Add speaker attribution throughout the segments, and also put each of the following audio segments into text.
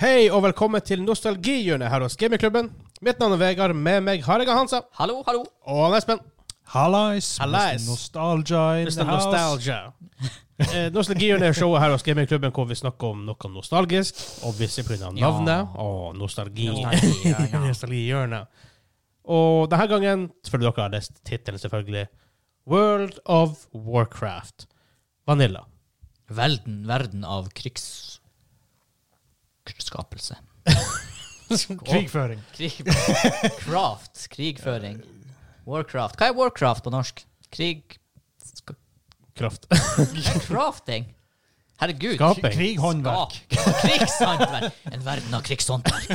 Speaker 1: Hei og velkommen til nostalgihjørnet her hos Gamingklubben. Mitt navn er Vegard, med meg har jeg Hansa
Speaker 2: Hallo, hallo.
Speaker 1: og han Espen.
Speaker 3: Hallais!
Speaker 1: Hallais.
Speaker 3: Mr. Nostalgia in
Speaker 1: Mr.
Speaker 3: the house.
Speaker 1: Nostalgia. Eh, Nostalgihjørnet er showet her hos Gamingklubben hvor vi snakker om noe nostalgisk, og visse pga. navnet og nostalgi.
Speaker 2: Nostalgi, ja, ja.
Speaker 1: Nostalgihjørnet. Og denne gangen, følger dere har lest tittelen, selvfølgelig, World of Warcraft. Vanilla.
Speaker 2: Verden, verden av krigs... Skapelse.
Speaker 3: Krigføring.
Speaker 2: Krig... Craft. Krigføring. Warcraft. Hva er Warcraft på norsk? Krig... Sk
Speaker 1: Kraft.
Speaker 2: crafting? Herregud.
Speaker 1: Skap- Håndverk.
Speaker 3: Krig, håndverk.
Speaker 2: Skap. Krigshåndverk. En verden av krigshåndverk.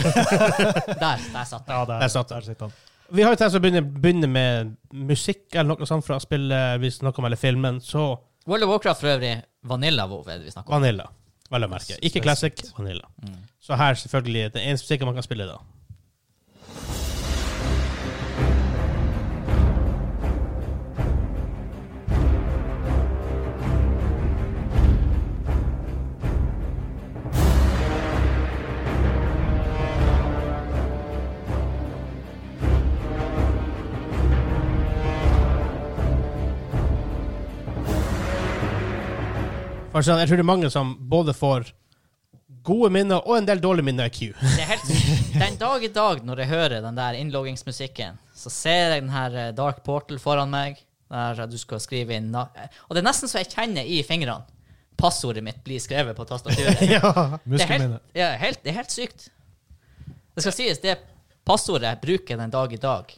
Speaker 2: Der, der satt den.
Speaker 3: Ja, der,
Speaker 1: Der satt den.
Speaker 3: der sitter han.
Speaker 1: Vi har jo tenkt å begynne, begynne med musikk eller noe sånt fra spillet vi snakker om, eller filmen, så
Speaker 2: World of Warcraft for øvrig. Vanilla WoW er det vi snakker om.
Speaker 1: Vanilla, vel å merke. Ikke classic, vanilla. Så her selvfølgelig den eneste musikken man kan spille da. For sånn, jeg tror det er mange som både får gode minner og en del dårlige minner i Q.
Speaker 2: Det er helt, den dag i dag, når jeg hører den der innloggingsmusikken, så ser jeg den her eh, Dark Portal foran meg, der du skal skrive inn na- Og det er nesten så jeg kjenner i fingrene passordet mitt blir skrevet på tastaturet. Det er
Speaker 3: Muskelminne.
Speaker 2: helt, ja, helt, det er helt sykt. Det skal sies, det passordet jeg bruker den dag i dag,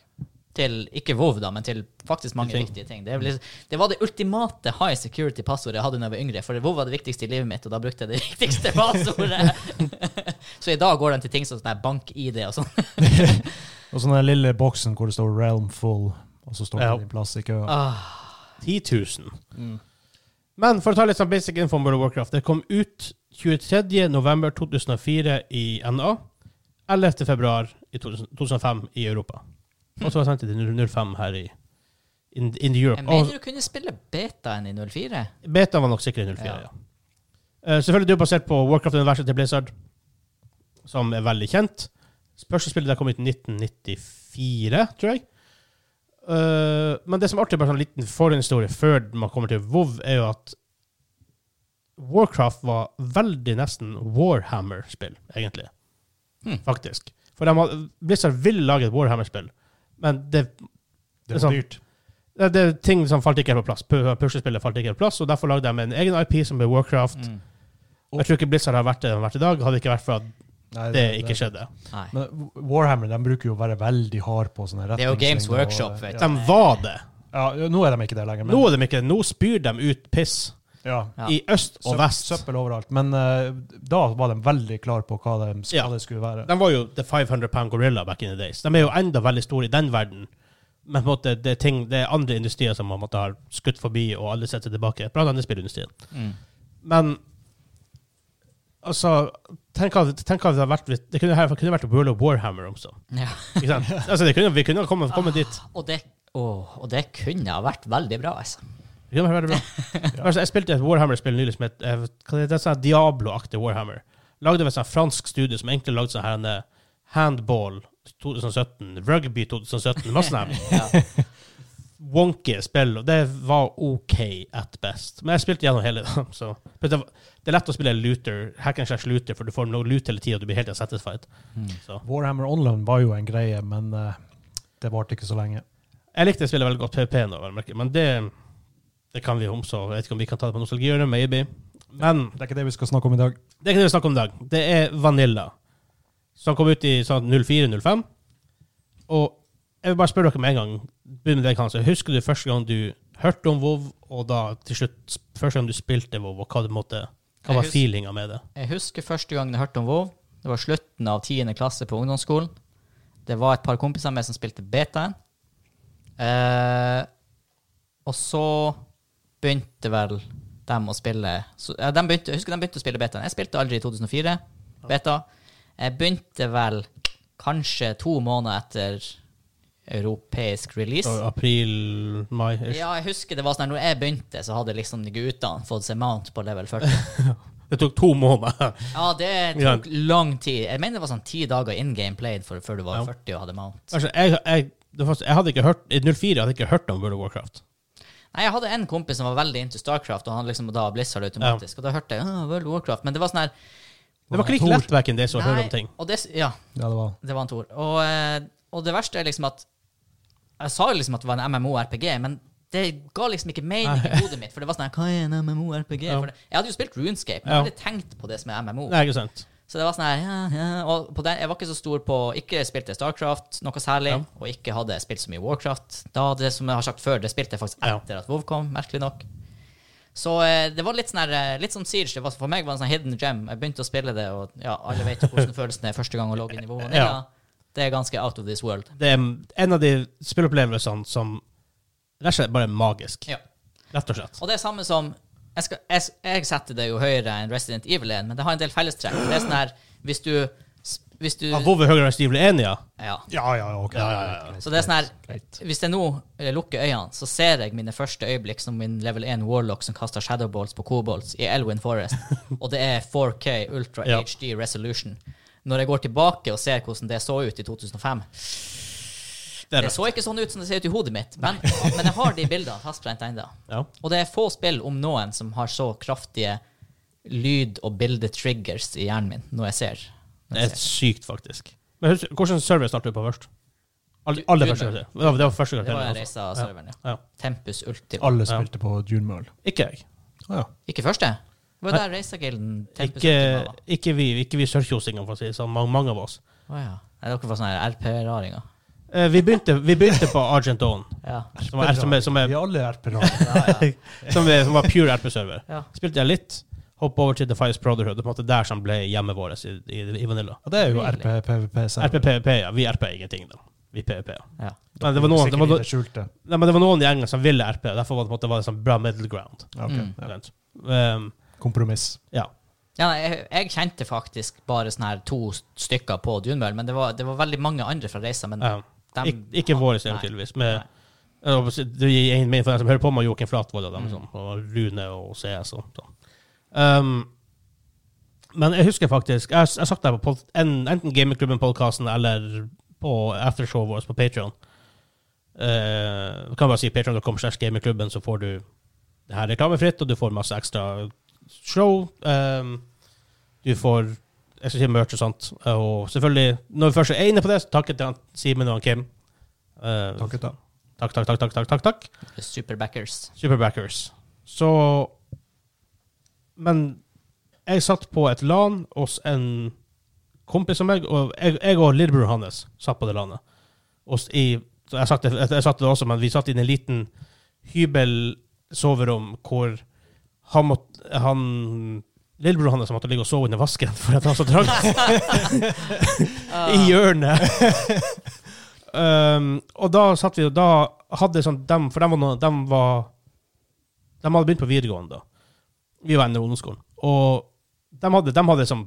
Speaker 2: til ikke WoW, da, men til faktisk mange
Speaker 1: Ting.
Speaker 2: viktige ting. Det, er vel- liksom- det var det ultimate high security-passordet jeg hadde da jeg var yngre, for WoW var det viktigste i livet mitt, og da brukte jeg det viktigste passordet. så i dag går den til ting som sånn her bank-ID og sånn.
Speaker 3: Og så den lille boksen hvor det står 'Realm Full', og så står
Speaker 1: Ja.
Speaker 3: det din plass i kø.
Speaker 1: 10 000. Men for å ta litt sånn basic info om World of Warcraft, det kom ut 23. november 2004 i NA, 11. februar i 2000 2005 i Europa. Og så var det sendt til 05 her i in, in Europe.
Speaker 2: Jeg
Speaker 1: Og-
Speaker 2: mener du kunne spille beta enn i 04.
Speaker 1: Beta var nok sikkert i 04, ja. Eh, selvfølgelig det er jo basert på Warcraft-universet til Blizzard, som er veldig kjent. Første spillet der kom ut i 1994, tror jeg. Eh, men det som er artig, bare sånn liten forhistorie før man kommer til WoW, er jo at Warcraft var veldig nesten Warhammer-spill, egentlig.
Speaker 2: Hmm.
Speaker 1: Faktisk. For de hadde, Blizzard ville lage et Warhammer-spill, men det
Speaker 3: Det
Speaker 1: sånn.
Speaker 3: var dyrt.
Speaker 1: det, det er ting som falt ikke helt på plass. Pu- Puslespillet falt ikke helt på plass, og derfor lagde de en egen IP som ble Warcraft.
Speaker 3: Mm.
Speaker 1: Jeg tror ikke Blizzard har vært det de har vært i dag, hadde det ikke vært for at
Speaker 3: Nei,
Speaker 1: det ikke skjedde.
Speaker 2: Nei.
Speaker 3: Men Warhammer de bruker jo å være veldig hard på sånne
Speaker 2: Det er jo Games
Speaker 3: retningslinjer og-
Speaker 2: Workshop, vet du.
Speaker 1: De var det.
Speaker 3: Ja, nå er de ikke det lenger. Men,
Speaker 1: Nå er de ikke det. Nå spyr de ut piss
Speaker 3: ja.
Speaker 2: Ja.
Speaker 1: i øst og
Speaker 3: Søpp-
Speaker 1: vest.
Speaker 3: Søppel overalt. Men eh, da var de veldig klar på hva, de, hva
Speaker 1: Ja.
Speaker 3: det skulle være.
Speaker 1: De var jo The 500 Pound Gorilla back in the days. De er jo enda veldig store i den verden. Men på en måte, det, er ting, det er andre industrier som man måtte ha skutt forbi, og alle setter tilbake. Blant annet spillindustrien.
Speaker 2: Mm.
Speaker 1: Men altså Tenk hva tenk hva det hadde vært hvis- Det kunne, her, kunne vært World of Warhammer også.
Speaker 2: Ja.
Speaker 1: Ikke sant? Altså, det kunne, vi kunne ha kommet, kommet dit.
Speaker 2: Og, det, åh, og det kunne ha vært veldig bra, altså.
Speaker 1: Det kunne vært veldig bra. Altså, jeg spilte et Warhammer-spill nylig som het eh, hva det heter, sånn Diablo-aktig Warhammer. Lagde av et sånt fransk studio som egentlig lagde sånn her en eh, handball 2017, rugby 2017, masse sånn her
Speaker 2: Ja.
Speaker 1: wonky spill, og det var OK at best. Men jeg spilte gjennom hele det, så For det, var- det er lett å spille looter, hack and slash looter, for du får noe loot hele tida, og du blir helt satisfied. Så.
Speaker 3: Warhammer Online var jo en greie, men eh, det varte ikke så lenge.
Speaker 1: Jeg likte spillet veldig godt, PVP nå, vel å merke, men det, det kan vi jo omså. Jeg vet ikke om vi kan ta det på nostalgiøret, maybe. Men
Speaker 3: Det er ikke det vi skal snakke om i dag.
Speaker 1: det er ikke det vi snakker om i dag. Det er Vanilla, som kom ut i sånn 04-05. Og jeg vil bare spørre dere med en gang, begynn med deg, Hans. Husker du første gang du hørte om WoW, og da til slutt s- første gang du spilte WoW, og hva, du måtte,
Speaker 2: Jeg
Speaker 1: hva var
Speaker 2: hus-
Speaker 1: feelinga med det?
Speaker 2: Jeg husker første gangen jeg hørte om WoW. Det var slutten av 10. klasse på ungdomsskolen. Det var et par kompiser med som spilte betaen. Eh, og så begynte vel dem å spille så, ja, dem begynte, Jeg husker de begynte å spille betaen. Jeg spilte aldri i 2004. Beta. Jeg begynte vel kanskje to måneder etter europeisk release.
Speaker 1: Så April, mai? ish.
Speaker 2: Ja, jeg husker det var sånn her, Når jeg begynte, så hadde liksom guttene fått seg mount på level 40.
Speaker 1: Det tok to måneder.
Speaker 2: Ja, det
Speaker 1: Ja.
Speaker 2: tok lang tid. Jeg mener det var sånn ti dager in game played for, før du var
Speaker 1: Ja.
Speaker 2: 40 og hadde mount.
Speaker 1: Altså, jeg, jeg, det var, jeg hadde ikke hørt I 04 hadde jeg ikke hørt om World of Warcraft.
Speaker 2: Nei, jeg hadde en kompis som var veldig into Starcraft, og han liksom da Blizzard automatisk. Og da hørte jeg «Ah, World of Warcraft, men det var sånn her
Speaker 1: Det var ikke like
Speaker 3: Tor.
Speaker 1: lett back in days å høre om ting.
Speaker 2: og det, ja,
Speaker 3: Ja, det var
Speaker 2: det var en Tor. Og, eh, og det verste er liksom at Jeg sa jo liksom at det var en MMO-RPG, men det ga liksom ikke mening i hodet mitt. For det var sånn her, Hva er en MMO-RPG?
Speaker 1: Ja.
Speaker 2: For det- Jeg hadde jo spilt RuneScape, men jeg
Speaker 1: Ja.
Speaker 2: hadde tenkt på det som er MMO.
Speaker 1: Nei, ikke sant.
Speaker 2: Så det var sånn her ja, ja. Og på den, jeg var ikke så stor på Ikke spilte Starcraft noe særlig,
Speaker 1: Ja.
Speaker 2: og ikke hadde jeg spilt så mye Warcraft. Da hadde det som jeg har sagt før, det spilte jeg faktisk
Speaker 1: Ja.
Speaker 2: etter at WoW kom, merkelig nok. Så eh, det var litt sånn her eh, Litt som Siege. Det var, for meg var det en sånn hidden gem. Jeg begynte å spille det, og ja, alle vet jo hvordan følelsen er første gang å logge inn i WoW. Ja.
Speaker 1: Ja.
Speaker 2: Det er ganske out of this world.
Speaker 1: Det er en av de spillopplevelsene som rett og slett bare er magisk.
Speaker 2: Ja.
Speaker 1: Rett og slett.
Speaker 2: Og det er samme som jeg, skal, jeg, jeg setter det jo høyere enn Resident Evil 1, men det har en del fellestrekk. Det er sånn her Hvis du Hvis du
Speaker 1: Av Vove Høyre og Stivle Enia.
Speaker 2: Ja.
Speaker 3: Ja, ja, ok.
Speaker 1: Ja, ja, ja.
Speaker 2: Så det er sånn her
Speaker 3: Greit.
Speaker 2: Hvis jeg nå eh, lukker øynene, så ser jeg mine første øyeblikk som min level 1 warlock som kaster shadowballs på kobolds i Elwyn Forest, og det er 4K Ultra
Speaker 1: Ja.
Speaker 2: HD Resolution. Når jeg går tilbake og ser hvordan det så ut i 2005
Speaker 1: Det er
Speaker 2: Det
Speaker 1: rett.
Speaker 2: så ikke sånn ut som det ser ut i hodet mitt, men, men jeg har de bildene fastbrent ennå.
Speaker 1: Ja.
Speaker 2: Og det er få spill, om noen, som har så kraftige lyd- og bildetriggers i hjernen min når jeg ser. Når
Speaker 1: Det
Speaker 2: jeg
Speaker 1: er
Speaker 2: ser.
Speaker 1: sykt, faktisk. Men husk, hvilken server startet du på først? Alle, alle
Speaker 2: Junior.
Speaker 1: første gang. Det var- det var første gang.
Speaker 2: Det var en
Speaker 1: altså.
Speaker 2: reise av
Speaker 1: Ja.
Speaker 2: serveren, ja.
Speaker 1: Ja.
Speaker 2: Tempus Ultima.
Speaker 3: Alle spilte på Dune Møll.
Speaker 1: Ikke jeg.
Speaker 3: Å ja.
Speaker 2: Ikke første? Det var der Racergilden Tempus
Speaker 1: Ikke,
Speaker 2: Ultima var.
Speaker 1: ikke vi, ikke vi sørkjosingene, for å si det sånn. Mange, mange av oss.
Speaker 2: Å ja. Nei, dere var sånn sånne RP-raringer.
Speaker 1: Eh, Vi begynte, vi begynte på Argent Dawn,
Speaker 2: Ja.
Speaker 1: som, er, som, er, som,
Speaker 3: Vi
Speaker 1: er,
Speaker 3: er alle RP-rader.
Speaker 2: Ja, ja.
Speaker 1: som, er, som var pure RP-server.
Speaker 2: ja.
Speaker 1: Spilte jeg litt, hoppet over til The Fives Brotherhood. Det er på en måte der som ble hjemmet vårt i, i, i Vanilla.
Speaker 3: Ja, det er jo
Speaker 2: Really?
Speaker 3: RP-PVP-server.
Speaker 1: RPPP, ja. Vi RP ingenting, da. Vi PVP. Ja.
Speaker 2: ja.
Speaker 1: Men det var noen, det var,
Speaker 3: det skjulte.
Speaker 1: nei, men det var noen gjenger som ville RP, derfor var det på en måte var det sånn bra middle ground.
Speaker 3: Ja, ok.
Speaker 2: Mm.
Speaker 3: ja.
Speaker 1: Rent. Um,
Speaker 3: Kompromiss.
Speaker 1: ja.
Speaker 2: ja nei, jeg, jeg kjente faktisk bare sånne her to stykker på Dunmøll, men det var, det var veldig mange andre fra reisa. Men
Speaker 1: Um,
Speaker 2: dem-
Speaker 1: Ik ikke vår del,
Speaker 2: Nei.
Speaker 1: tydeligvis. Med, Jeg håper å si- det gir ingen mening for den som hører på med Joakim Flatvold
Speaker 2: Mm.
Speaker 1: og dem, sånn, og Rune og CS og sånn. Um, men jeg husker faktisk Jeg har s- jeg har sagt det her på pod- en, enten Gamingklubben-podkasten eller på aftershowet vårt på Patreon. Uh, kan bare si patreon.com slash gamingklubben, så får du det her reklamefritt, og du får masse ekstra show. Um, du får jeg skal si merch og sånt. Og selvfølgelig, når vi først er inne på det, så takk til han Simen og han Kim. Uh,
Speaker 3: Takk, gutta.
Speaker 1: Takk, takk, takk, takk, takk, takk, takk.
Speaker 2: Superbackers.
Speaker 1: Superbackers. Så Men jeg satt på et LAN hos en kompis av meg, og jeg, jeg og lillebror hans satt på det LAN-et. Og s- i- så Jeg, satt det- jeg, jeg satt det også, men vi satt i en liten hybel-soverom hvor han måtte han, Lillebror hans måtte ligge og sove under vasken for at han var så trangt i hjørnet. Um, og da satt vi og da hadde sånn dem, For dem var, noe, dem var De hadde begynt på videregående da. Vi var ennå i ungdomsskolen. Og de hadde, dem hadde sånn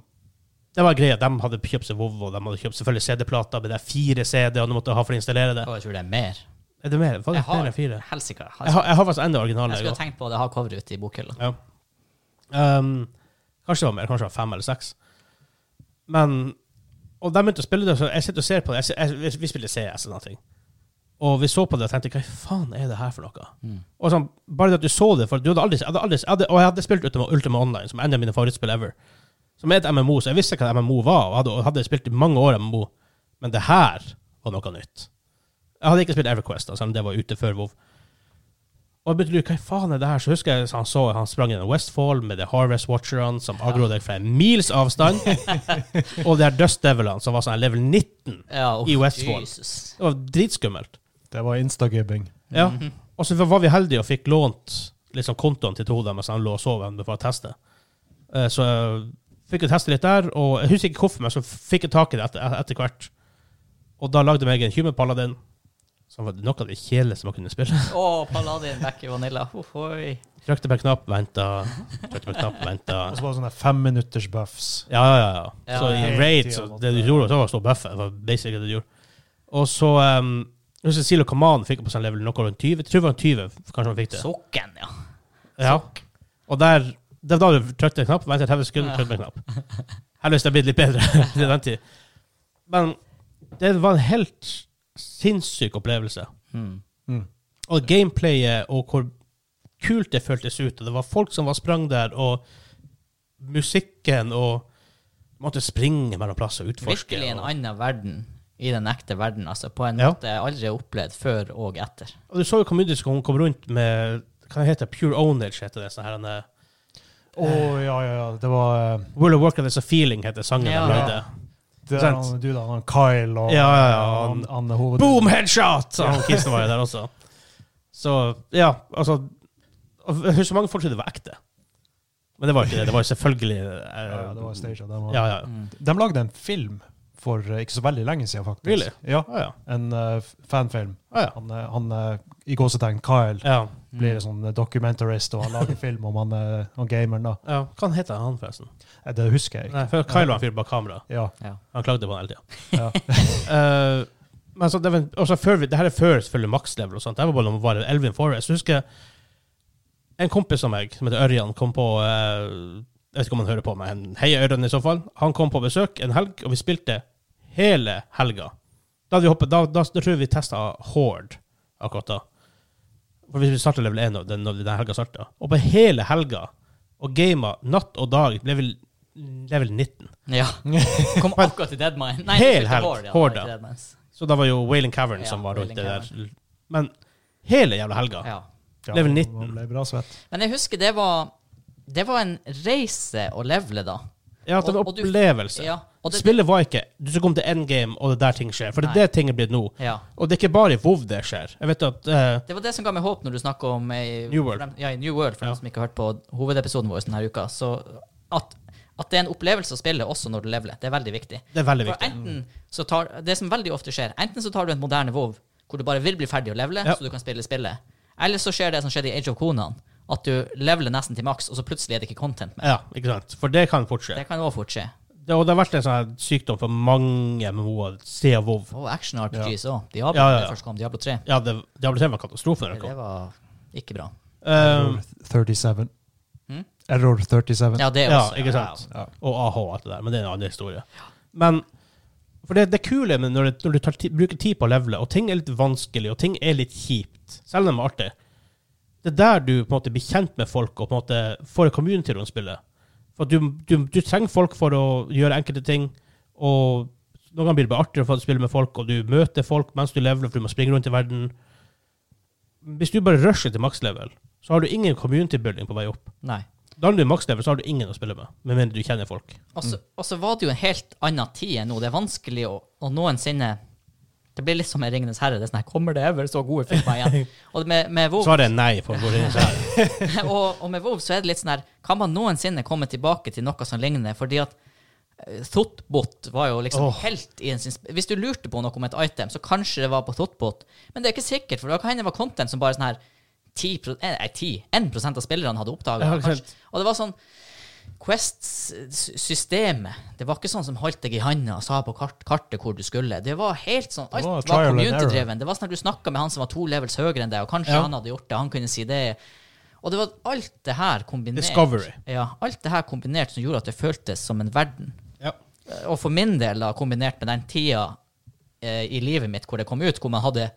Speaker 1: Det var greia. De hadde kjøpt seg Vovvo, de hadde kjøpt selvfølgelig CD-plater. men Det er fire CD-er du måtte ha for å installere det.
Speaker 2: Og jeg tror det er mer.
Speaker 1: Er det mer? Var det
Speaker 2: Jeg har
Speaker 1: flere enn fire?
Speaker 2: helsike. Jeg,
Speaker 1: Jeg har, jeg har faktisk enda
Speaker 2: jeg
Speaker 1: originale.
Speaker 2: skulle
Speaker 1: jeg
Speaker 2: ha tenkt på det, jeg har coveret ute i bokhylla.
Speaker 1: også. Ja. Um, kanskje det var mer. Kanskje det var fem eller seks. Men Og de begynte å spille det, så jeg sitter og ser på det. Jeg, ser- jeg, vi- vi spiller CS eller noe. Og vi så på det og tenkte hva faen er det her for noe?
Speaker 2: Mm.
Speaker 1: Og sånn, Bare det at du så det for du hadde aldri, jeg hadde aldri, jeg hadde, Og jeg hadde spilt Ultima, Ultima Online, som er en av mine favorittspill ever. Som er et MMO, så jeg visste hva et MMO var, og hadde, og hadde spilt i mange år MMO. Men det her var noe nytt. Jeg hadde ikke spilt Everquest, da, selv om det var ute før WoW. Og jeg begynte å lure hva faen er det her, så husker jeg han så han sprang gjennom Westfold med The Harvest Watcherne, som aggro deg fra en mils avstand, og de her Dust Devilene, som var sånn level 19.
Speaker 2: Ja,
Speaker 1: I Westfold.
Speaker 2: Jesus.
Speaker 1: Det var dritskummelt.
Speaker 3: Det var instagibbing.
Speaker 1: Ja. Og så var vi heldige og fikk lånt liksom, kontoen til to av dem mens han lå og sov for å teste. Eh, Så jeg fikk jeg teste litt der, og jeg husker ikke hvorfor, men så fikk jeg tak i det etter, etter hvert. Og da lagde jeg meg en Human Paladin, som var noe av det kjedeligste man kunne spille.
Speaker 2: Å, Paladin back i Vanilla. Ohoi.
Speaker 1: Trykte på en knapp, venta, trykte på en knapp, venta.
Speaker 3: Og så var det sånne femminutters buffs.
Speaker 1: Ja, ja, ja.
Speaker 2: Ja,
Speaker 1: ja. Så
Speaker 3: ja.
Speaker 1: i raid, så det du gjorde, så var å stå og buffe. Det var basically det du gjorde. Og så um, jeg husker Silo Kaman fikk på sånn seg en level noe rundt 20. Jeg tror det var en 20, kanskje han fikk det.
Speaker 2: Sokken, ja.
Speaker 1: Ja. Og der Det var da du trykte en knapp, ventet 30 sekunder, trykte en knapp. Heldigvis det er blitt litt bedre til den tid. Men det var en helt sinnssyk opplevelse.
Speaker 2: Mm.
Speaker 3: Mm.
Speaker 1: Og gameplayet, og hvor kult det føltes ut. Og det var folk som var sprang der, og musikken, og du måtte springe mellom plasser og utforske.
Speaker 2: Virkelig en
Speaker 1: Og,
Speaker 2: annen verden i den ekte verden, altså. På en
Speaker 1: Ja.
Speaker 2: måte jeg aldri har opplevd før og etter.
Speaker 1: og du så jo community som kom rundt med hva det heter Pure Ownage, heter det. sånn her, en, eh,
Speaker 3: Å, ja, ja, ja. Det var eh,
Speaker 1: World of Warcraft is a feeling, heter sangen
Speaker 2: Ja.
Speaker 1: de lagde.
Speaker 3: det er
Speaker 1: Sant.
Speaker 3: han, du, da, han Kyle og
Speaker 1: Ja, ja, ja,
Speaker 3: Han,
Speaker 1: han-
Speaker 3: han er hoved...
Speaker 1: Boom, headshot! Og Kisen var jo der også. Så ja, altså Jeg husker mange folk trodde det var ekte. Men det var jo ikke det. Det var jo selvfølgelig eh,
Speaker 3: Ja, det var staged. Den var...
Speaker 1: Ja, ja.
Speaker 2: Mm.
Speaker 3: De lagde en film for eh, ikke så veldig lenge siden, faktisk.
Speaker 1: Really?
Speaker 3: Ja,
Speaker 1: Ah, ja.
Speaker 3: En eh, f- fanfilm.
Speaker 1: Ah, ja.
Speaker 3: Han, eh, han eh, i gåsetegn Kyle
Speaker 1: ja.
Speaker 3: blir en sånn eh, documentarist, og han lager film om han, eh, han gameren. da.
Speaker 1: ja. Hva heter han, forresten?
Speaker 3: Eh, Det husker jeg ikke.
Speaker 1: Nei, for Kyle var en fyr bak kamera.
Speaker 3: Ja,
Speaker 2: Ja.
Speaker 1: Han klagde på han hele tida.
Speaker 3: ja.
Speaker 1: Eh, men så det, var, også før vi, det her er før selvfølgelig makslevel og sånt. Det var bare om å være Elvin Forest. Jeg husker en kompis av meg som heter Ørjan, kom på eh, Jeg vet ikke om han hører på meg. Hei, Ørjan, i så fall. Han kom på besøk en helg, og vi spilte hele helga. Da, hadde vi hoppet, da, da, da tror jeg vi testa Horde akkurat da. For hvis vi starta level 1 når den, når den helga starta. Og på hele helga, og gama natt og dag, level, level 19.
Speaker 2: ja. Kom akkurat til Deadmine. Nei,
Speaker 1: Hel
Speaker 2: det er
Speaker 1: helg.
Speaker 2: Horde, ja,
Speaker 1: Horde,
Speaker 2: det er
Speaker 1: ja.
Speaker 2: ikke Deadmines.
Speaker 1: Så da var jo Wailing Cavern
Speaker 2: Ja,
Speaker 1: som var rundt
Speaker 2: Wailing
Speaker 1: det der. Men hele jævla helga.
Speaker 2: Ja.
Speaker 3: Ja,
Speaker 1: Level
Speaker 3: han
Speaker 1: 19.
Speaker 3: ble bra svett.
Speaker 2: Men jeg husker det var Det var en reise å levele da.
Speaker 1: Ja, at det var
Speaker 2: Og- og du-
Speaker 1: opplevelse.
Speaker 2: Ja. Og det,
Speaker 1: Spillet var ikke Du skal komme til endgame, og det er der ting skjer. For det er
Speaker 2: Nei.
Speaker 1: det ting er blitt nå.
Speaker 2: ja.
Speaker 1: Og det er ikke bare i WoW det skjer. Jeg vet at eh,
Speaker 2: Det var det som ga meg håp når du snakka om eh,
Speaker 1: New World.
Speaker 2: for dem- Ja, i New World, for
Speaker 1: Ja.
Speaker 2: dem som ikke har hørt på hovedepisoden vår denne uka. Så at, at det er en opplevelse å spille også når du leveler, det er veldig viktig.
Speaker 1: Det er veldig
Speaker 2: For
Speaker 1: viktig.
Speaker 2: enten så tar Det som veldig ofte skjer, enten så tar du en moderne WoW hvor du bare vil bli ferdig å levele,
Speaker 1: Ja.
Speaker 2: så du kan spille spillet, eller så skjer det som skjedde i Age of Konan, at du leveler nesten til maks, og så plutselig er det ikke content mer.
Speaker 1: Ja, ikke sant? For det kan fort skje.
Speaker 2: Det kan òg fort skje.
Speaker 1: Det, og det har vært en sånn her sykdom for mange MMO-er siden WoW.
Speaker 2: Og action RPGs òg. Diablo
Speaker 1: Ja, ja, ja.
Speaker 2: når det først kom, Diablo 3.
Speaker 1: Ja, det, det har blitt en katastrofe. når det
Speaker 2: Det
Speaker 1: kom.
Speaker 2: var ikke bra.
Speaker 3: Mm.
Speaker 1: Eh,
Speaker 3: 37. Mm?
Speaker 2: Hm?
Speaker 3: Error 37.
Speaker 2: Ja, det
Speaker 1: Ja,
Speaker 2: også.
Speaker 1: ikke sant?
Speaker 3: Ja.
Speaker 1: og AH og alt det der, men det er en annen historie. Men for det, det kule med når, det, når du tar, ti- bruker tid på å levele, og ting er litt vanskelig, og ting er litt kjipt, selv om det er artig, det er der du på en måte blir kjent med folk og på en måte får en community rundt spillet. For du, du, du trenger folk for å gjøre enkelte ting, og noen ganger blir det bare artigere for å spille med folk, og du møter folk mens du leveler, for du må springe rundt i verden. Hvis du bare rusher til makslevel, så har du ingen community building på vei opp.
Speaker 2: Nei.
Speaker 1: Da er du i makslevel, så har du ingen å spille med, med mindre du kjenner folk.
Speaker 2: Og så, og så var det jo en helt annen tid enn nå. Det er vanskelig å, å noensinne Det blir litt som med Ringenes herre. Det er sånn her, Kommer det ever så gode filmer igjen? Og med, med WoW,
Speaker 1: Svaret er nei. på hvor det er.
Speaker 2: og, og med WoW så er det litt sånn her Kan man noensinne komme tilbake til noe som ligner? Fordi at eh, Thothbot var jo liksom
Speaker 1: Åh.
Speaker 2: helt i en sin sp- Hvis du lurte på noe om et item, så kanskje det var på Thothbot. Men det er ikke sikkert, for det kan hende det var content som bare sånn her 10, pro- eh, nei, 10 1 av spillerne hadde
Speaker 1: Ja,
Speaker 2: oppdaga.
Speaker 1: ikke sant.
Speaker 2: Og det var sånn Quest-systemet Det var ikke sånn som holdt deg i handa og sa på kart, kartet hvor du skulle. Det var helt sånn
Speaker 3: Det
Speaker 2: Alt
Speaker 3: var
Speaker 2: var,
Speaker 3: trial and
Speaker 2: community-dreven. Det var sånn at du snakka med han som var to levels høyere enn deg, og kanskje
Speaker 1: Ja.
Speaker 2: han hadde gjort det, han kunne si det. Og det var alt det her kombinert
Speaker 1: Discovery.
Speaker 2: Ja, alt det her kombinert som gjorde at det føltes som en verden.
Speaker 1: Ja.
Speaker 2: Eh, Og for min del, da, kombinert med den tida eh, i livet mitt hvor det kom ut, hvor man hadde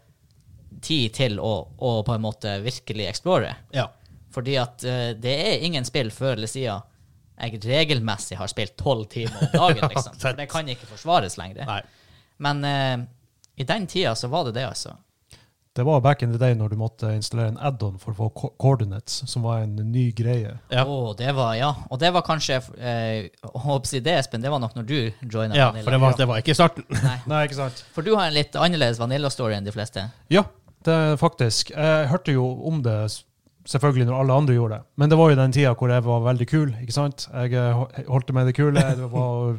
Speaker 2: tid til å, å på en måte virkelig explore.
Speaker 1: ja.
Speaker 2: Fordi at eh, det er ingen spill før eller siden jeg regelmessig har spilt tolv timer om dagen, liksom. For det kan ikke forsvares lenger.
Speaker 1: Nei.
Speaker 2: Men eh, i den tida så var det det, altså.
Speaker 3: Det var back in the day når du måtte installere en add-on for å få co- coordinates, som var en ny greie.
Speaker 1: Ja.
Speaker 2: Å, det var, ja. Og det var kanskje eh, Håper jeg det, Espen, det var nok når du joina
Speaker 1: ja,
Speaker 2: Vanilla.
Speaker 1: for det var, det var ikke i starten.
Speaker 2: Nei.
Speaker 3: Nei, ikke sant?
Speaker 2: For du har en litt annerledes Vanilla-story enn de fleste.
Speaker 3: Ja, det er faktisk. Jeg hørte jo om det s- selvfølgelig når alle andre gjorde det, men det var jo den tida hvor jeg var veldig kul, ikke sant? Jeg eh, ho- holdt med det kule, jeg var,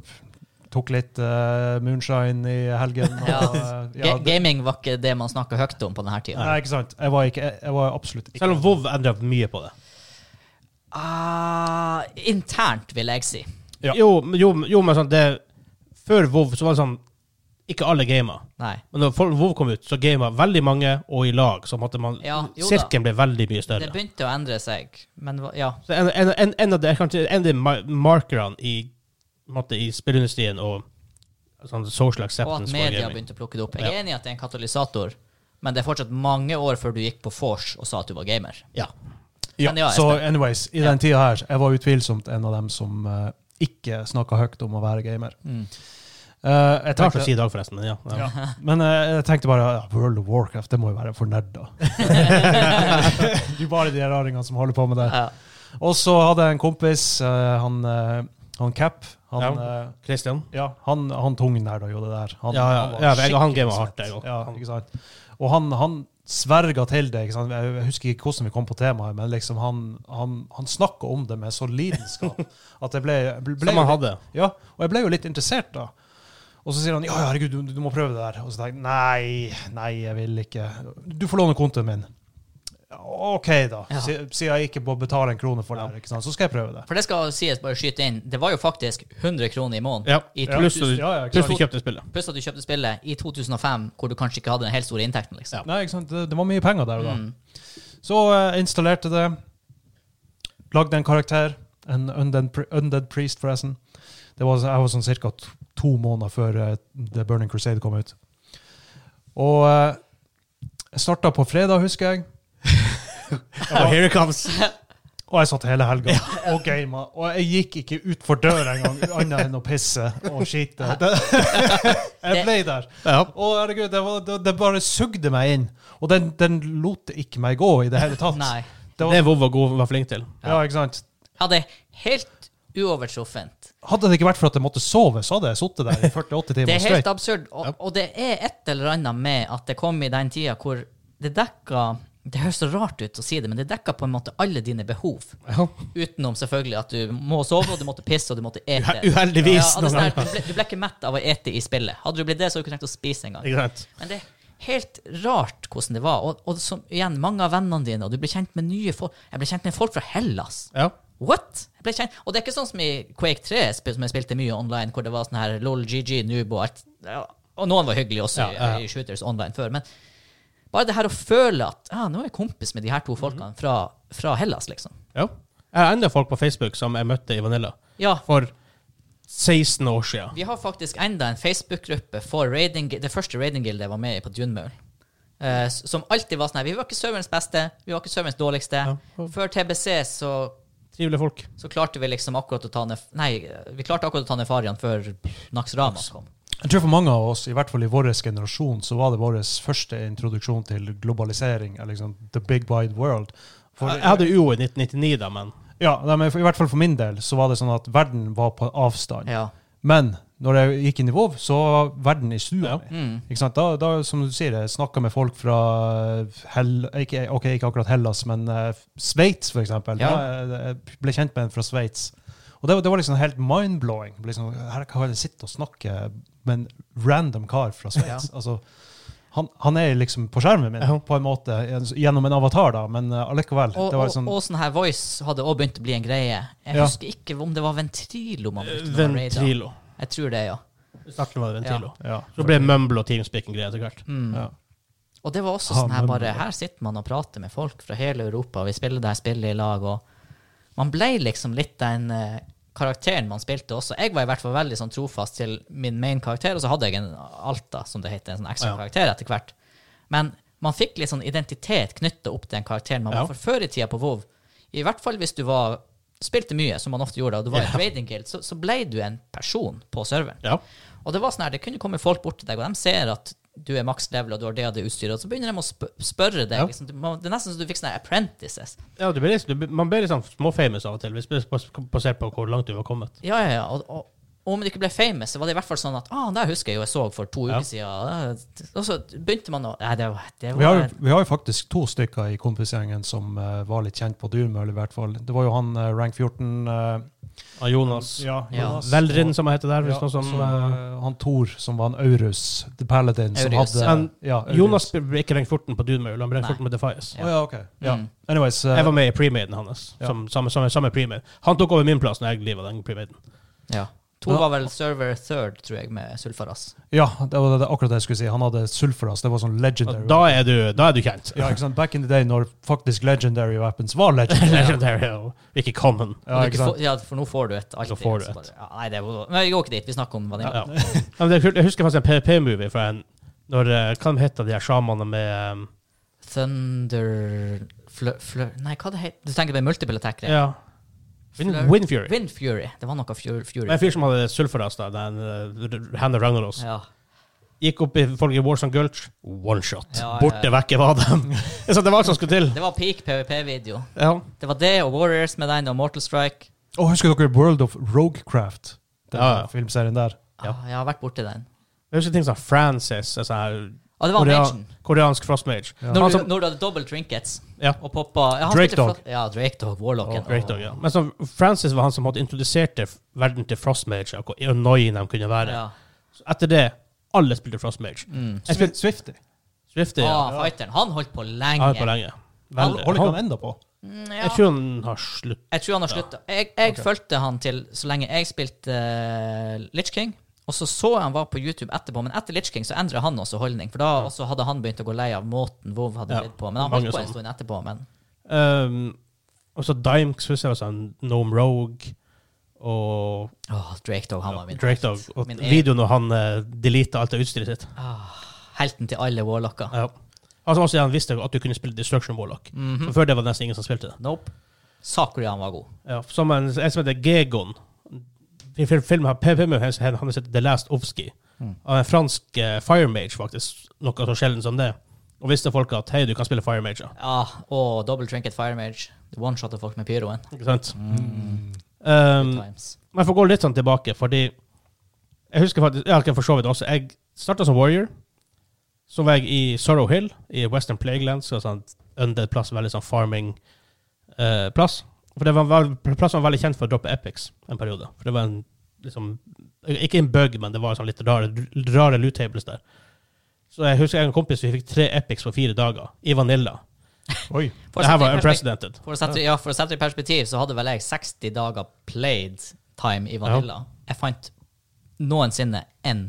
Speaker 3: tok litt eh, moonshine i helgen. Og,
Speaker 2: Ja.
Speaker 3: eh,
Speaker 2: Ga-
Speaker 3: ja, det,
Speaker 2: Gaming var ikke det man snakka høyt om på denne tida.
Speaker 3: nei, ikke sant? Jeg var, ikke, jeg, jeg var absolutt ikke
Speaker 1: Selv om WoW endra mye på det.
Speaker 2: Ah, internt, vil jeg si.
Speaker 3: Ja.
Speaker 1: Jo, men- jo, men- jo, men sånn det Før WoW så var det sånn Ikke alle gamer.
Speaker 2: Nei.
Speaker 1: Men når Fallen WoW kom ut, så gama veldig mange, og i lag. Så måtte man
Speaker 2: Ja, jo da.
Speaker 1: Sirkelen ble veldig mye
Speaker 2: Det
Speaker 1: større.
Speaker 2: begynte å endre seg, men hva- ja.
Speaker 1: Så en, en, en, en av de, kanskje, en av de ma- markerne i, på en måte, i spillindustrien og sånn social
Speaker 2: Og at
Speaker 1: acceptance for
Speaker 2: media
Speaker 1: gaming.
Speaker 2: begynte å plukke det opp. Jeg
Speaker 1: Ja.
Speaker 2: er enig i at det er en katalysator, men det er fortsatt mange år før du gikk på vors og sa at du var gamer.
Speaker 1: Ja.
Speaker 3: Ja,
Speaker 2: Men ja,
Speaker 3: så
Speaker 2: Espen.
Speaker 3: anyways, i
Speaker 2: Ja.
Speaker 3: den tida her, jeg var utvilsomt en av dem som eh, ikke snakka høyt om å være gamer.
Speaker 2: Mm.
Speaker 3: Eh, jeg
Speaker 1: Det er rart å
Speaker 3: tenkte,
Speaker 1: si i dag, forresten. Men ja. ja.
Speaker 3: ja. Men eh, jeg tenkte bare ja, World of Warcraft, det må jo være for nerder. det er bare de raringene som holder på med det.
Speaker 2: Ja.
Speaker 3: Og så hadde jeg en kompis, eh, han, eh, han Cap. Han,
Speaker 1: Ja.
Speaker 3: eh,
Speaker 1: Christian?
Speaker 3: Ja, han, han tungnerda jo det der. Han,
Speaker 1: Ja, ja.
Speaker 3: han var
Speaker 1: Ja, jeg og han
Speaker 3: skikkelig
Speaker 1: gamet hardt,
Speaker 3: svett.
Speaker 1: jeg også.
Speaker 3: Ja,
Speaker 1: Han-
Speaker 3: ikke sant? Og han, han sverga til det. Ikke sant? Jeg, jeg husker ikke hvordan vi kom på temaet, men liksom han, han, han snakka om det med så lidenskap at jeg ble, ble, ble
Speaker 1: Som han hadde.
Speaker 3: Ja, og jeg ble jo litt interessert da. Og så sier han ja, ja, herregud, du, du må prøve det der. Og så tenker jeg nei, nei, jeg vil ikke. Du får låne kontoen min. Ja, OK, da.
Speaker 2: Ja.
Speaker 3: Si- Sier jeg ikke må betale en krone for det, her, ikke sant? så skal jeg prøve det.
Speaker 2: For det skal sies, bare skyte inn, det var jo faktisk 100 kroner i måneden.
Speaker 1: Ja.
Speaker 2: I
Speaker 1: Pluss du,
Speaker 2: 2000
Speaker 3: Ja, ja, ikke
Speaker 1: pluss
Speaker 3: sant.
Speaker 1: du kjøpte spillet.
Speaker 2: Pluss at du kjøpte spillet i 2005, hvor du kanskje ikke hadde den helt store inntekten. liksom.
Speaker 3: Nei, ikke sant? Det, det var mye penger der og da.
Speaker 2: Mm.
Speaker 3: Så eh, installerte det. Lagde en karakter. En undead, pri- undead priest, forresten. Det var, jeg var sånn ca. to måneder før eh, The Burning Crusade kom ut. Og eh, jeg starta på fredag, husker jeg.
Speaker 1: Oh, here it comes!
Speaker 3: Og jeg satt hele helga og gama. Og jeg gikk ikke utfor døra engang, annet enn å pisse og skite. Det, jeg ble der.
Speaker 1: Ja.
Speaker 3: Å, herregud, det, var, det, det bare sugde meg inn. Og den, den lot ikke meg gå i det hele tatt.
Speaker 2: Nei.
Speaker 3: Det
Speaker 1: Det
Speaker 3: var,
Speaker 1: Vov var god, var flink til.
Speaker 3: ja, ikke sant?
Speaker 2: Ja, det er helt uovertruffent.
Speaker 3: Hadde det ikke vært for at jeg måtte sove, så hadde jeg sittet der i 48
Speaker 2: Det
Speaker 3: timer
Speaker 2: er helt
Speaker 3: straight.
Speaker 2: absurd, og, og det er et eller annet med at det kom i den tida hvor det dekka Det høres så rart ut å si det, men det dekka på en måte alle dine behov. Utenom selvfølgelig at du må sove, og du måtte pisse, og du måtte ete.
Speaker 1: Ja, uheldigvis,
Speaker 2: Ja, det er sånn her,
Speaker 1: noen
Speaker 2: du, ble, du ble ikke mett av å ete i spillet. Hadde du blitt det, så hadde du ikke trengt å spise engang.
Speaker 1: Ikke sant?
Speaker 2: Men det er helt rart hvordan det var. Og, og som, igjen, mange av vennene dine, og du ble kjent med nye folk. Jeg ble kjent med folk fra Hellas.
Speaker 1: Ja.
Speaker 2: What? Jeg ble kjent. Og det er ikke sånn som i Quake 3, sp- som jeg spilte mye online, hvor det var sånn her LOL, GG, noob og alt. Ja, Og noen var hyggelige også
Speaker 1: Ja, ja, ja.
Speaker 2: i- i Shooters online før. Men bare det her å føle at ah, nå er jeg kompis med de her to folkene
Speaker 1: Mhm.
Speaker 2: fra, fra Hellas, liksom.
Speaker 1: ja. Jeg har enda folk på Facebook som jeg møtte i Vanilla
Speaker 2: Ja,
Speaker 1: for 16 år siden.
Speaker 2: vi har faktisk enda en Facebook-gruppe for raiding, det første raiding-gildet jeg var med i på Dunmaul. Eh, s- som alltid var sånn her Vi var ikke serverens beste, vi var ikke serverens dårligste. Før TBC så
Speaker 1: Trivelige folk.
Speaker 2: så klarte vi liksom akkurat å ta ned Nei, vi klarte akkurat å ta ned Farian før Nax Ramas kom.
Speaker 3: Jeg tror for mange av oss, i hvert fall i vår generasjon, så var det vår første introduksjon til globalisering, eller liksom the big wide world. For-
Speaker 1: Jeg hadde UO i 1999, da, men
Speaker 3: Ja, nei, men for, i hvert fall for min del så var det sånn at verden var på avstand.
Speaker 2: Ja.
Speaker 3: Men når jeg gikk inn i WoW, så var verden i stua. mi.
Speaker 2: Mm.
Speaker 3: Ikke sant? Da, da, som du sier, jeg snakka med folk fra Hell, ikke, ok, ikke akkurat Hellas, men eh, Sveits, for eksempel.
Speaker 2: Ja.
Speaker 3: Da, eh, jeg ble kjent med en fra Sveits. Og det, var- det var liksom helt mind-blowing. Liksom, her kan jeg sitte og snakke med en random kar fra Sveits. Altså, han, han er liksom på skjermen min,
Speaker 1: Ja.
Speaker 3: på en måte, gjennom en avatar, da, men eh, allikevel.
Speaker 2: Og,
Speaker 3: det var
Speaker 2: og,
Speaker 3: liksom,
Speaker 2: og sånn her voice hadde også begynt å bli en greie. Jeg
Speaker 3: Ja.
Speaker 2: husker ikke om det var ventrilo man brukte. når man raida.
Speaker 1: Ventrilo.
Speaker 2: Jeg tror det, ja.
Speaker 1: I starten var det Ventrilo.
Speaker 3: ja.
Speaker 1: Så ble Mumble og Teamspeaking-greier etter hvert.
Speaker 2: Mm.
Speaker 3: Ja.
Speaker 2: Og det var også
Speaker 3: Ha,
Speaker 2: sånn her
Speaker 3: men-
Speaker 2: bare Her sitter man og prater med folk fra hele Europa, og vi spiller det her spillet i lag, og man ble liksom litt den eh, karakteren man spilte også. Jeg var i hvert fall veldig sånn trofast til min main karakter, og så hadde jeg en Alta, som det heter, en sånn ekstra
Speaker 1: Ja.
Speaker 2: karakter etter hvert. Men man fikk litt sånn identitet knytta opp til den karakteren man
Speaker 1: Ja.
Speaker 2: var for før i tida på WoW. I hvert fall hvis du var spilte mye, som man ofte gjorde, og du var i en raiding guild, så, så ble du en person på serveren.
Speaker 1: Ja.
Speaker 2: Og det var sånn her, det kunne komme folk bort til deg, og de ser at du er maks level, og du har det og det utstyret, og så begynner de å sp spørre deg.
Speaker 1: Ja.
Speaker 2: Liksom. Du må- Det er nesten så du fikk sånne her apprentices.
Speaker 1: ja du ble litt, du, ble- man ble litt sånn småfamous av og til, hvis- bas- basert på hvor langt du var kommet.
Speaker 2: Ja, ja, ja. Og, og, og om det ikke ble famous, så var det i hvert fall sånn at ah, det husker jeg jo jeg så for to
Speaker 1: Ja.
Speaker 2: uker siden. Ah, Og så begynte man å Nei, det var, det
Speaker 3: Vi har,
Speaker 2: var
Speaker 3: jo- vi har jo faktisk to stykker i kompisgjengen som eh, var litt kjent på Durmøl, i hvert fall. Det var jo han eh, rank 14 eh,
Speaker 1: Av Jonas.
Speaker 3: ja,
Speaker 2: Ja.
Speaker 1: Veldrin, som han heter der. Hvis
Speaker 3: ja,
Speaker 1: noe sånn,
Speaker 3: som, eh, han Thor, som var en Aurus, The Paladin, som
Speaker 2: Aurus,
Speaker 3: hadde
Speaker 1: ja. Men
Speaker 3: ja, Aurus.
Speaker 1: Jonas ble ikke rank 14 på Dunmaul, han ble
Speaker 2: Nei.
Speaker 1: rank 14 med Defias.
Speaker 3: Å ja, ok. Ja.
Speaker 2: Mm.
Speaker 3: Anyways, eh,
Speaker 1: Jeg var med i premaden hans.
Speaker 3: Ja.
Speaker 1: Som, samme, samme, samme premade. Han tok over min plass når jeg liva den premaden.
Speaker 2: ja. To
Speaker 3: Ja.
Speaker 2: var vel server third, tror jeg, med Sulfaras.
Speaker 3: Ja, det var det, akkurat det jeg skulle si. Han hadde Sulfaras. Det var sånn legendary.
Speaker 1: Da er du, da er du kjent.
Speaker 3: Ja, ikke sant? Back in the day når faktisk legendary weapons var legendary.
Speaker 1: Legendary og ikke common.
Speaker 3: Ja,
Speaker 2: Og du
Speaker 3: ikke
Speaker 2: ikke
Speaker 3: sant?
Speaker 2: får- ja, for nå får du et. alltid,
Speaker 1: får du
Speaker 2: så
Speaker 1: et.
Speaker 2: bare- Ja, nei, det var, men vi går ikke dit. Vi snakker om hva det
Speaker 1: Ja. Ja, men det er kult. Jeg husker faktisk en PVP-movie fra en når, eh, Hva de heter de her sjamanene med um,
Speaker 2: Thunder flø, flø, Nei, hva det heter Du tenker på multiple attack? det.
Speaker 1: ja. Wind,
Speaker 2: Flør-
Speaker 1: Wind Fury.
Speaker 2: Wind Fury. Det var noe Fury.
Speaker 1: Det var
Speaker 2: Fury.
Speaker 1: En fyr som hadde sulfuras, da, den uh, Hand of Ragnaros.
Speaker 2: Ja.
Speaker 1: Gikk opp i folk i Warzone Gulch. One shot.
Speaker 2: Ja, ja, ja.
Speaker 1: Borte vekke var de. Så det var alt som skulle til.
Speaker 2: Det var peak PVP-video.
Speaker 1: Ja.
Speaker 2: Det var det og Warriors med den og Mortal Strike.
Speaker 3: Å, husker dere World of Rogecraft? Den
Speaker 1: Ja, ja.
Speaker 3: filmserien der.
Speaker 1: Ja.
Speaker 2: Ah, jeg har vært borti den.
Speaker 1: Jeg husker ting som Francis, altså her,
Speaker 2: Ah, det var
Speaker 1: korea
Speaker 2: Magen.
Speaker 1: koreansk frostmage.
Speaker 3: Ja.
Speaker 2: Når,
Speaker 1: Han
Speaker 2: du-
Speaker 1: som-
Speaker 2: når du hadde double trinkets
Speaker 1: Ja.
Speaker 2: og poppa ja, han
Speaker 3: Drake
Speaker 2: spilte fra-
Speaker 3: Dog.
Speaker 2: Ja, Drake Dog, Warlocken.
Speaker 1: Great Dog, ja. Men så Francis var han som hadde introdusert verden til frostmage, og hvor annoying de kunne være.
Speaker 2: Ja.
Speaker 1: Så etter det, alle spilte frostmage.
Speaker 2: Mm.
Speaker 1: Jeg spilte
Speaker 3: Swifty.
Speaker 1: Swifty, ja.
Speaker 2: Ah, fighteren. Han holdt på
Speaker 1: Jeg
Speaker 2: lenge.
Speaker 1: har hørt på lenge. Veldig.
Speaker 3: Holder ikke han enda på?
Speaker 2: Mm,
Speaker 1: Jeg
Speaker 2: ja.
Speaker 1: tror han har slutt.
Speaker 2: Jeg tror han har slutta. Jeg, jeg fulgte han til så lenge jeg spilte uh, Litch King. Og så så jeg han var på YouTube etterpå, men etter Litch King så endra han også holdning. For da også hadde han begynt å gå lei av måten WoW hadde
Speaker 1: Ja,
Speaker 2: blitt på. Men han
Speaker 1: mange
Speaker 2: holdt på en
Speaker 1: sånne.
Speaker 2: stund etterpå. Men
Speaker 1: Um, og så Dimex, husker jeg, var sånn Gnome Rogue og
Speaker 2: åh, Drake Dog, han var min.
Speaker 1: Drake Dog. Og
Speaker 2: Min
Speaker 1: videoen når han uh, deleta alt av utstyret sitt.
Speaker 2: Ah, helten til alle warlocker.
Speaker 1: Ja. Altså, også, han visste at du kunne spille Destruction Warlock.
Speaker 2: Mhm.
Speaker 1: For Før det var det nesten ingen som spilte det.
Speaker 2: Nope. Sakura han var god.
Speaker 1: Ja, som en, en som heter Gegon. I fil- filmen har PPM han har sett The Last Ofsky. Av en fransk eh, Fire Mage, faktisk. Noe så sjelden som det. Og visste folk at hei, du kan spille Fire Mage. ja.
Speaker 2: Ja, og double trinket fire mage. One-shotta folk med pyroen.
Speaker 1: Ikke sant? Um,
Speaker 2: Times.
Speaker 1: Men jeg får gå litt sånn tilbake, fordi jeg husker faktisk, jeg har ikke for så vidt også, jeg startet som warrior, så var jeg i Sorrow Hill, i Western Plagueland, så sånn undead plass, veldig sånn farming eh, plass. For det var en vel- plass som var veldig kjent for å droppe epics en periode. For det var en, liksom, ikke en bug, men det var sånn litt rare, rare loot tables der. Så jeg husker jeg og en kompis, vi fikk tre epics på fire dager, i Vanilla.
Speaker 3: Oi.
Speaker 2: For å
Speaker 1: Det her
Speaker 2: sette
Speaker 1: var
Speaker 2: i perspekt-
Speaker 1: unprecedented.
Speaker 2: For å sette, ja, for å sette det i perspektiv, så hadde vel jeg 60 dager played time i Vanilla. Jeg fant noensinne én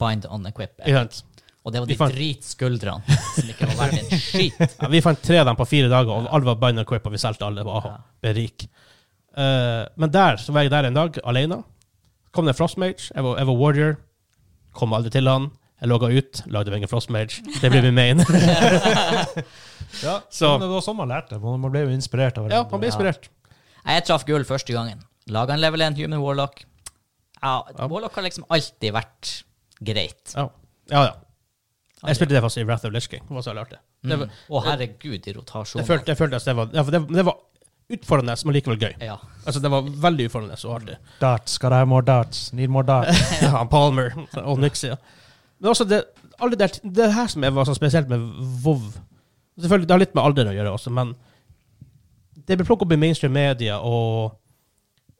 Speaker 2: bind on equip,
Speaker 1: Ikke sant?
Speaker 2: og det var
Speaker 1: Vi
Speaker 2: de
Speaker 1: fant-
Speaker 2: dritskuldrene som ikke var verdt en skit.
Speaker 1: Ja, vi fant tre av dem på fire dager, og alle var binder equip, og vi solgte alle. Aha,
Speaker 2: Ja.
Speaker 1: berik. Eh, men der så var jeg der en dag, alene. Kom det en frostmage. Jeg var, jeg var warrior. Kom aldri til han. Jeg logga ut, lagde meg en frostmage. Det ble min main.
Speaker 3: Ja,
Speaker 1: Så-
Speaker 3: men det var sånn man lærte. Man ble jo inspirert av
Speaker 1: ja, man ble
Speaker 2: Ja.
Speaker 1: inspirert.
Speaker 2: Jeg traff gull første gangen. Laga en level 1 human warlock. Ja, Warlock har liksom alltid vært greit.
Speaker 1: Ja. ja, ja. Jeg spilte det faktisk i Wrath of Lich King. Det var så jævlig artig. Det, var-
Speaker 2: Mm. Å, herregud, i rotasjon.
Speaker 1: jeg følte, jeg følte at det var, ja, for det, det var utfordrende, men likevel gøy.
Speaker 2: Ja.
Speaker 1: Altså, det var veldig utfordrende og artig.
Speaker 3: Darts. Gotta have more darts. Need more darts.
Speaker 1: ja, Palmer og Nixie. Ja. Men også det, alle der, det her som jeg var så spesielt med WoW Selvfølgelig, Det har litt med alderen å gjøre også, men det ble plukket opp i mainstream media, og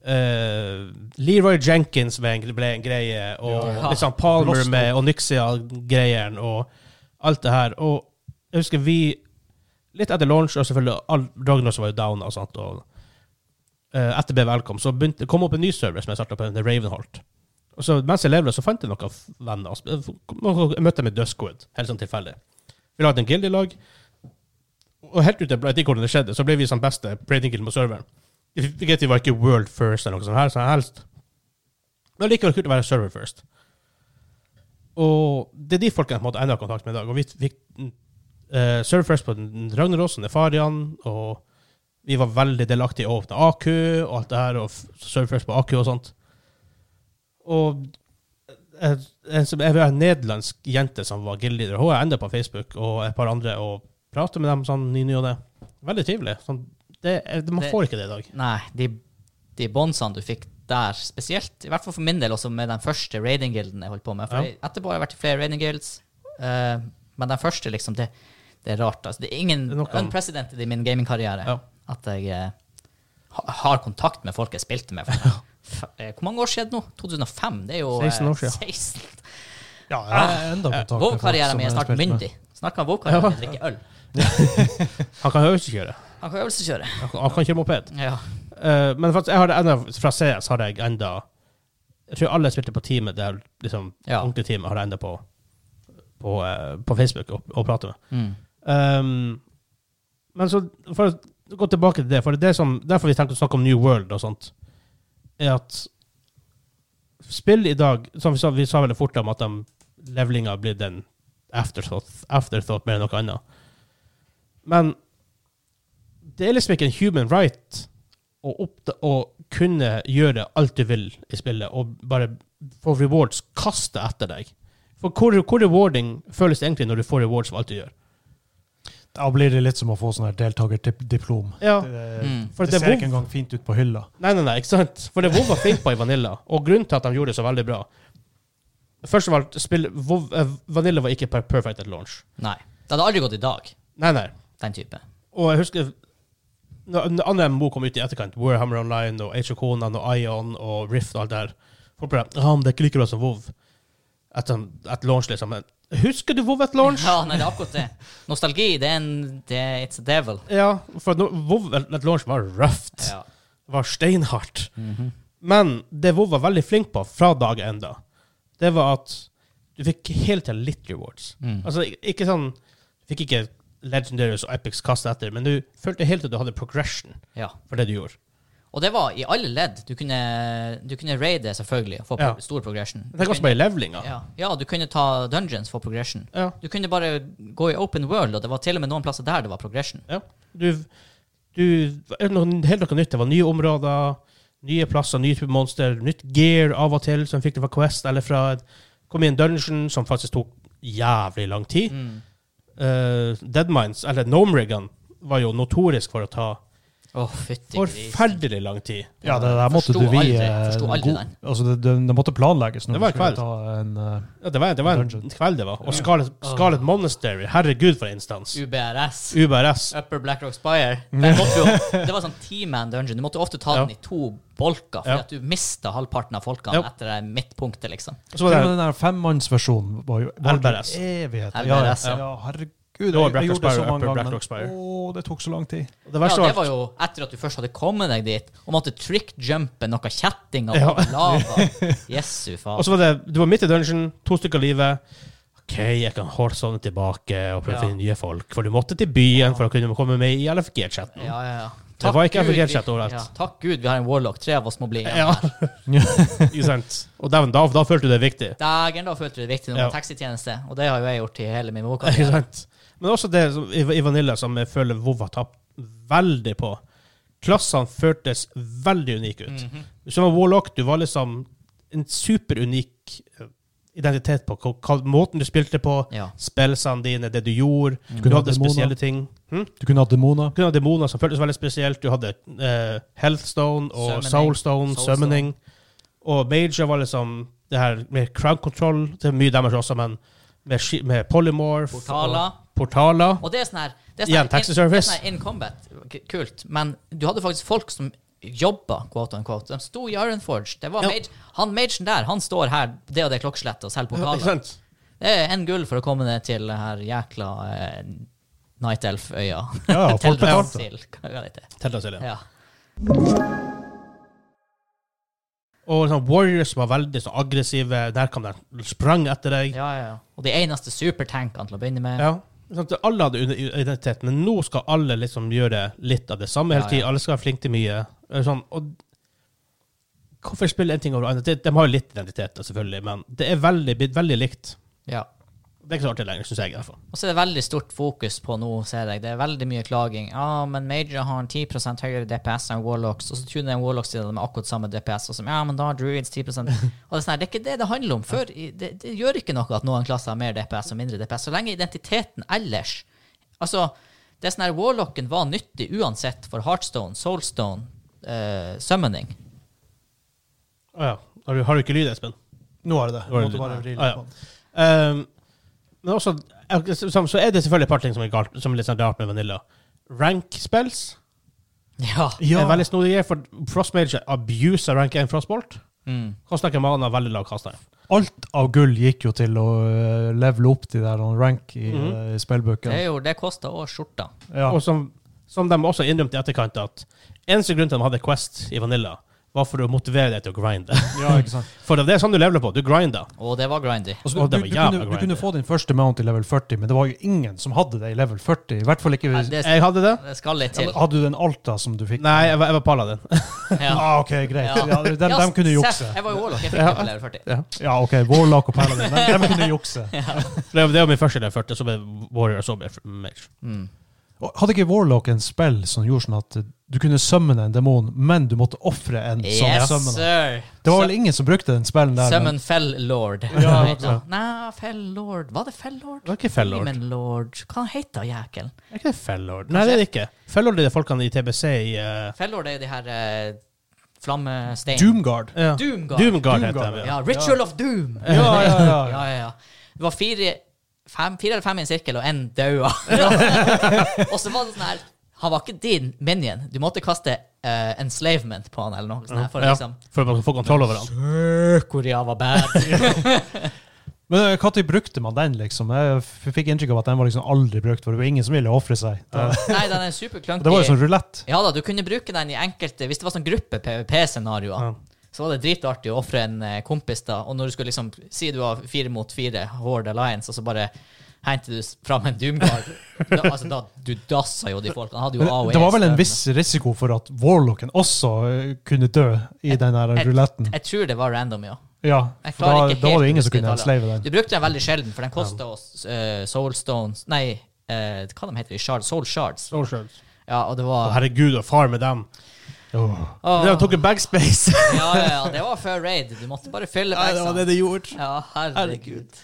Speaker 1: eh, Leroy Jenkins ble en, ble en greie, og
Speaker 2: Ja.
Speaker 1: liksom Palmer
Speaker 3: Blåst
Speaker 1: med Onyxia-greien og alt det her. Og jeg husker vi Litt etter launch, og selvfølgelig all, Ragnaros var jo down og sånt. Og, eh, etter BVL kom, så begynte, kom opp en ny server som jeg starta på, The Ravenholt. Og så mens jeg levde, så fant jeg noen f- venner. og sp- og Jeg møtte dem i Duskwood, helt sånn tilfeldig. Vi lagde en guild i lag. Og helt ut av blå- jeg vet ikke hvordan det skjedde, så ble vi sånn beste rating guild på serveren. Vi fikk- Vi vet vi var ikke world first eller noe sånt her, som helst. Men likevel kult å være server first. Og det er de folkene jeg på en måte ennå har kontakt med i dag. Og vi fikk eh, server first på den- Ragnaros og Nefarian, og vi var veldig delaktige i å åpne AQ og alt det her, og f- server first på AQ og sånt. Og jeg, jeg, jeg var en nederlandsk jente som var guildleader. Hun er enda på Facebook, og et par andre, og prater med dem sånn i ny og ne. Veldig trivelig. Sånn, det, er- man
Speaker 2: Det-
Speaker 1: får ikke det i dag.
Speaker 2: Nei, de, de bondsene du fikk der spesielt, i hvert fall for min del også med den første raiding-gilden jeg holdt på med. For
Speaker 1: Ja.
Speaker 2: jeg- Etterpå har jeg vært i flere raiding-gilds, eh, men den første, liksom, det, det er rart. Altså, det er ingen
Speaker 1: Det er noe annet.
Speaker 2: unprecedented i min gamingkarriere
Speaker 1: Ja.
Speaker 2: at jeg eh, ha- har kontakt med folk jeg spilte med. For, f- eh, hvor mange år siden nå? 2005? Det er jo eh,
Speaker 1: 16 år siden.
Speaker 2: 16.
Speaker 3: Ja, jeg har enda kontakt med folk
Speaker 2: Vov-karrieren
Speaker 3: som
Speaker 2: min er
Speaker 3: jeg
Speaker 2: snart
Speaker 3: spilte med.
Speaker 2: myndig. Snart kan vov-karrieren min drikke øl.
Speaker 1: Han kan øvelseskjøre.
Speaker 2: Han kan øvelseskjøre.
Speaker 1: Han kan- han kan kjøre moped.
Speaker 2: Ja.
Speaker 1: Eh, men faktisk, jeg har det enda, fra CS har jeg enda Jeg tror alle spilte på teamet der liksom,
Speaker 2: Ja.
Speaker 1: ordentlig team har enda på, på, eh, på Facebook og, og prate med.
Speaker 2: Mm.
Speaker 1: Ehm, men så, for å gå tilbake til det, for det er som, derfor vi tenkte å snakke om New World og sånt, er at spill i dag, som vi sa, vi sa veldig fort om at de, levelinga har blitt en afterthought, afterthought mer enn noe annet. Men det er liksom ikke en human right å, oppda- å kunne gjøre alt du vil i spillet, og bare få rewards kastet etter deg. For hvor, hvor rewarding føles det egentlig når du får rewards for alt du gjør?
Speaker 3: Da blir det litt som å få sånn her deltakerdiplom.
Speaker 1: Ja.
Speaker 3: Det,
Speaker 2: Mm.
Speaker 1: For
Speaker 3: det,
Speaker 1: det
Speaker 3: ser
Speaker 1: WoW-
Speaker 3: ikke engang fint ut på hylla.
Speaker 1: Nei, nei, nei, ikke sant? For det WoW var flink på i Vanilla, og grunnen til at de gjorde det så veldig bra Først av alt, spill, WoW, eh, Vanilla var ikke per- perfect at launch.
Speaker 2: Nei. Det hadde aldri gått i dag,
Speaker 1: Nei, nei.
Speaker 2: den type.
Speaker 1: Og jeg husker når når andre MMO kom ut i etterkant, Warhammer Online og Age of Conan og Ion og Rift og alt det der Folk bare Ja, men det er ikke like bra som WoW. Etter et launch, liksom. Men Husker du WoW et launch?
Speaker 2: Ja, nei, det er akkurat det. Nostalgi, det er en det, er- It's a devil.
Speaker 1: Ja, for når WoW et launch var røft.
Speaker 2: Ja.
Speaker 1: Det var steinhardt. Men det WoW var veldig flink på fra dag én, da, det var at du fikk hele tiden litt rewards.
Speaker 2: Mm.
Speaker 1: Altså ik- ikke sånn Du fikk ikke Legendaries og Epics kastet etter, men du følte hele tiden du hadde progression
Speaker 2: ja.
Speaker 1: for det du gjorde.
Speaker 2: Og det var i alle ledd. Du kunne, du kunne raide, selvfølgelig, og få
Speaker 1: Ja.
Speaker 2: pro- stor progression. Du
Speaker 1: Tenk også
Speaker 2: kunne-
Speaker 1: bare i levelinga. Ja.
Speaker 2: ja. ja, du kunne ta dungeons for progression.
Speaker 1: Ja.
Speaker 2: Du kunne bare gå i open world, og det var til og med noen plasser der det var progression.
Speaker 1: Du, du er det noe, Helt noe nytt. Det var nye områder, nye plasser, nye typer monster, nytt gear av og til som fikk det fra Quest eller fra et- Kom i en dungeon som faktisk tok jævlig lang tid.
Speaker 2: Mm.
Speaker 1: uh, Deadmines, eller Gnomerigan, var jo notorisk for å ta
Speaker 2: Å, fytti grisen.
Speaker 1: forferdelig lang tid.
Speaker 3: Ja, det der måtte
Speaker 2: Forsto
Speaker 3: du vi
Speaker 2: aldri-
Speaker 3: eh,
Speaker 2: forsto aldri
Speaker 3: god-
Speaker 2: den.
Speaker 3: Altså, det, det, det måtte planlegges.
Speaker 1: Det
Speaker 3: når
Speaker 1: var
Speaker 3: du skulle
Speaker 1: kveld.
Speaker 3: ta en, eh,
Speaker 1: Ja, det, var, det var en
Speaker 3: Dungeon.
Speaker 1: kveld, det var. Og Scarlet, Scarlet Monastery, herregud for en instans.
Speaker 2: UBRS.
Speaker 1: UBRS.
Speaker 2: Upper Black Rock Spire. Den måtte jo, det var sånn man dungeon. Du måtte ofte ta den
Speaker 1: Ja.
Speaker 2: i to bolker, fordi
Speaker 1: Ja.
Speaker 2: at du mista halvparten av folkene
Speaker 1: Ja.
Speaker 2: etter det midtpunktet, liksom.
Speaker 1: Og så var
Speaker 3: Til og
Speaker 1: det
Speaker 3: med den der femmannsversjonen var jo var det
Speaker 1: LBRS.
Speaker 3: evighet.
Speaker 2: LBRS, ja.
Speaker 3: ja, herregud.
Speaker 1: var
Speaker 3: Jeg,
Speaker 1: Black
Speaker 3: jeg
Speaker 1: Rock
Speaker 3: gjorde det så
Speaker 1: Spire,
Speaker 3: mange
Speaker 1: Upper
Speaker 3: ganger,
Speaker 1: Black Rock Spire.
Speaker 3: men å, det tok så lang tid.
Speaker 1: det
Speaker 2: Ja,
Speaker 1: verste
Speaker 2: det
Speaker 1: var
Speaker 2: var jo etter at du først hadde kommet deg dit, og måtte trick-jumpe noe kjettinger
Speaker 1: Ja.
Speaker 2: og lava. Jesu
Speaker 1: Og
Speaker 2: faen.
Speaker 1: så var det Du var midt i dungeon, to stykker av livet. OK, jeg kan horsone tilbake og prøve å
Speaker 2: Ja.
Speaker 1: finne nye folk. For du måtte til byen for å kunne komme med i LFG-chatten.
Speaker 2: Ja, ja, ja.
Speaker 1: Det var ikke
Speaker 2: Gud vi-
Speaker 1: FGL-chat overalt.
Speaker 2: Ja, takk Gud vi har en warlock. Tre av oss må bli igjen.
Speaker 1: Ja. Ikke sant? Og da, da, da følte du det viktig.
Speaker 2: Dagen da følte du det viktig når
Speaker 1: Ja.
Speaker 2: man har taxitjeneste, og det har jo jeg gjort i hele min
Speaker 1: Ikke
Speaker 2: vokalkarriere.
Speaker 1: sant? Men også det som, i, i Vanilla som jeg føler WoW har tapt veldig på. Klassene føltes veldig unike ut. Hvis du var Warlock, du var liksom en superunik eh, identitet på hva, hva, måten du spilte på,
Speaker 2: Ja.
Speaker 1: spillsene dine, det du gjorde. Du
Speaker 3: kunne ha
Speaker 1: hadde
Speaker 3: demoner.
Speaker 1: spesielle ting. Hm?
Speaker 3: Du kunne hatt demoner.
Speaker 1: Du kunne ha demoner som føltes veldig spesielt. Du hadde eh, Healthstone og
Speaker 2: Summoning.
Speaker 1: Soulstone,
Speaker 2: Soulstone.
Speaker 1: Summoning. Og Major var liksom det her med crowd control. Det er mye damage også, men med, ski- med Polymorph. og-
Speaker 2: Portaler.
Speaker 1: portaler.
Speaker 2: Og det er sånn her det er sånn
Speaker 1: Igjen,
Speaker 2: her-
Speaker 1: taxi
Speaker 2: in-
Speaker 1: service.
Speaker 2: det er sånn her In combat, k- kult. Men du hadde faktisk folk som jobba, quote on quote. De sto i Ironforge. Det var
Speaker 1: Ja.
Speaker 2: mage, han magen der, han står her, det og det klokkeslettet, og selger
Speaker 1: Ja, ikke
Speaker 2: pokaler.
Speaker 1: sant?
Speaker 2: Det er en gull for å komme ned til det her jækla eh, Night Elf-øya.
Speaker 3: Ja, ja, folk betalte.
Speaker 2: Teldrassil, hva er det det heter?
Speaker 1: Teltas, eller?
Speaker 2: Ja.
Speaker 1: Og sånn Warriors var veldig sånn aggressive. Der kom de sprang etter deg. Ja.
Speaker 2: ja, ja, ja. Og de eneste supertankene til å begynne med.
Speaker 1: Sånn at alle hadde uni- identitet, men nå skal alle liksom gjøre litt av det samme hele
Speaker 2: Ja,
Speaker 1: tiden.
Speaker 2: ja.
Speaker 1: Alle skal være flinke til mye. Eller Sånn, og hvorfor spille en ting over annet? De, de har jo litt identitet, da, selvfølgelig, men det er veldig, blitt veldig likt.
Speaker 2: Ja.
Speaker 1: Det er ikke så artig lenger, syns jeg. i hvert fall.
Speaker 2: Og så er det veldig stort fokus på nå, ser jeg. Det er veldig mye klaging. Ja, ah, men Major har en 10 høyere DPS enn Warlocks, og så tuner jeg Warlocks til det med akkurat samme DPS, og så ja, men da har Druids 10 Og det er, sånn her, det er ikke det det handler om. Før, i- det, det gjør ikke noe at noen klasser har mer DPS og mindre DPS, så lenge identiteten ellers Altså, det er sånn her Warlocken var nyttig uansett for Heartstone, Soulstone, eh, Summoning.
Speaker 1: Å ja. Har du, har du ikke lyd, Espen?
Speaker 3: Nå er det det.
Speaker 1: Nå er det
Speaker 3: Du måtte bare vri
Speaker 1: det.
Speaker 3: litt
Speaker 1: Ah, ja.
Speaker 3: på den.
Speaker 1: Ehm, men også, så, så er det selvfølgelig et par ting som er, galt, som er litt sånn rart med Vanilla. Rank-spills.
Speaker 2: Ja.
Speaker 1: Det
Speaker 3: Ja.
Speaker 1: er veldig snodig, for Frostmage abuser rank 1 Frostbolt.
Speaker 2: Mm.
Speaker 1: Koster ikke mana, veldig lav kasting.
Speaker 3: Alt av gull gikk jo til å eh, levele opp de der on rank i mm
Speaker 1: Mhm.
Speaker 2: Det,
Speaker 3: spillbøkene.
Speaker 2: er jo, det koster òg skjorta.
Speaker 3: Ja.
Speaker 1: Og som, som de også innrømte i etterkant, at eneste grunn til at de hadde Quest i Vanilla, var for å motivere deg til å grinde.
Speaker 3: Ja, ikke sant?
Speaker 1: For det er sånn du leveler på. Du grinder.
Speaker 2: Og det var grindy.
Speaker 3: Altså,
Speaker 1: Å,
Speaker 3: du,
Speaker 1: det
Speaker 3: du,
Speaker 1: var jævla
Speaker 3: kunne, du
Speaker 1: grindy.
Speaker 3: kunne få din første mount i level 40, men det var jo ingen som hadde det i level 40. I hvert fall ikke
Speaker 2: Nei,
Speaker 3: hvis,
Speaker 2: det,
Speaker 1: Jeg hadde det.
Speaker 2: det skal litt til.
Speaker 3: Hadde du den Alta som du fikk?
Speaker 1: Nei, jeg var, jeg var paladin.
Speaker 2: Ja.
Speaker 3: Ah, ok, greit.
Speaker 2: Ja.
Speaker 3: Ja, de, de,
Speaker 2: Ja,
Speaker 3: kunne jukse.
Speaker 2: Seff, Jeg var jo warlock, jeg fikk
Speaker 3: Ja.
Speaker 2: det på level 40.
Speaker 3: Ja, ja ok. Warlock og Paladin, de, de kunne jukse.
Speaker 1: Det var- det var min første level 40, så ble jeg warrior, så ble jeg mage.
Speaker 2: Mm.
Speaker 3: Og Hadde ikke Warlock en spill som gjorde sånn at du kunne summone en demon, men du måtte ofre en
Speaker 2: Yes,
Speaker 3: som summona?
Speaker 2: sir.
Speaker 3: Det var vel ingen som brukte den spillen der? men-
Speaker 2: Summon Fell Lord.
Speaker 3: Ja,
Speaker 2: Hva heter
Speaker 3: ja.
Speaker 2: han? Nei, Fell Lord Var det Fell Lord?
Speaker 1: Det var ikke fellord.
Speaker 2: Demon Lord Hva han heter han jækelen?
Speaker 1: Det er ikke det fellord. Nei, det er det ikke. Fellord er de folkene i TBC i eh,
Speaker 2: Fell Lord er jo de her eh, flammestein...
Speaker 3: Doomguard.
Speaker 1: ja.
Speaker 2: Doomguard.
Speaker 1: Doomguard heter
Speaker 3: Doomguard,
Speaker 1: de. Ja.
Speaker 2: Ja, Ritual of Doom.
Speaker 3: Ja, ja, ja.
Speaker 2: ja, ja, ja. Det var fire, fem, fire eller fem i en sirkel, og én daua. og så var det sånn her Han var ikke din minion. Du måtte kaste eh, enslavement på han eller noe sånt her, for å
Speaker 1: Ja,
Speaker 2: liksom
Speaker 1: For at man skal få kontroll over han.
Speaker 2: Korea var bad.
Speaker 3: Men eh, når brukte man den, liksom? Jeg f- fikk inntrykk av at den var liksom aldri brukt, for det var ingen som ville ofre seg. Det,
Speaker 2: Nei, den er superklunky.
Speaker 3: det var jo sånn rulett.
Speaker 2: Ja da, du kunne bruke den i enkelte Hvis det var sånn gruppe PVP-scenarioer,
Speaker 1: Ja.
Speaker 2: så var det dritartig å ofre en eh, kompis, da. Og når du skulle liksom si du var fire mot fire, Horde Alliance, og så bare henter du s- fram en Doomguard da, altså, da, Du dassa jo de folkene. Han hadde jo E AOE.
Speaker 3: Det var vel en viss risiko for at Warlocken også eh, kunne dø i den der
Speaker 2: et-
Speaker 3: ruletten.
Speaker 2: Jeg tror det var random, ja.
Speaker 3: Ja,
Speaker 2: Jeg
Speaker 3: for da,
Speaker 2: klarer ikke
Speaker 3: da var
Speaker 2: helt
Speaker 3: det
Speaker 2: å
Speaker 3: ingen som
Speaker 2: huske
Speaker 3: kunne
Speaker 2: detaljer.
Speaker 3: enslave den.
Speaker 2: Du brukte den veldig sjelden, for den kosta oss eh, Soulstones Nei, eh, hva de heter de? Shards? Soul Shards. Ja, og det
Speaker 1: Å,
Speaker 2: var
Speaker 1: Herregud, å far med dem.
Speaker 3: Åh.
Speaker 2: Åh.
Speaker 1: De tok en backspace.
Speaker 2: ja, ja, ja, det var før raid. Du måtte bare fylle bagsene.
Speaker 1: de gjorde.
Speaker 2: Ja, herregud.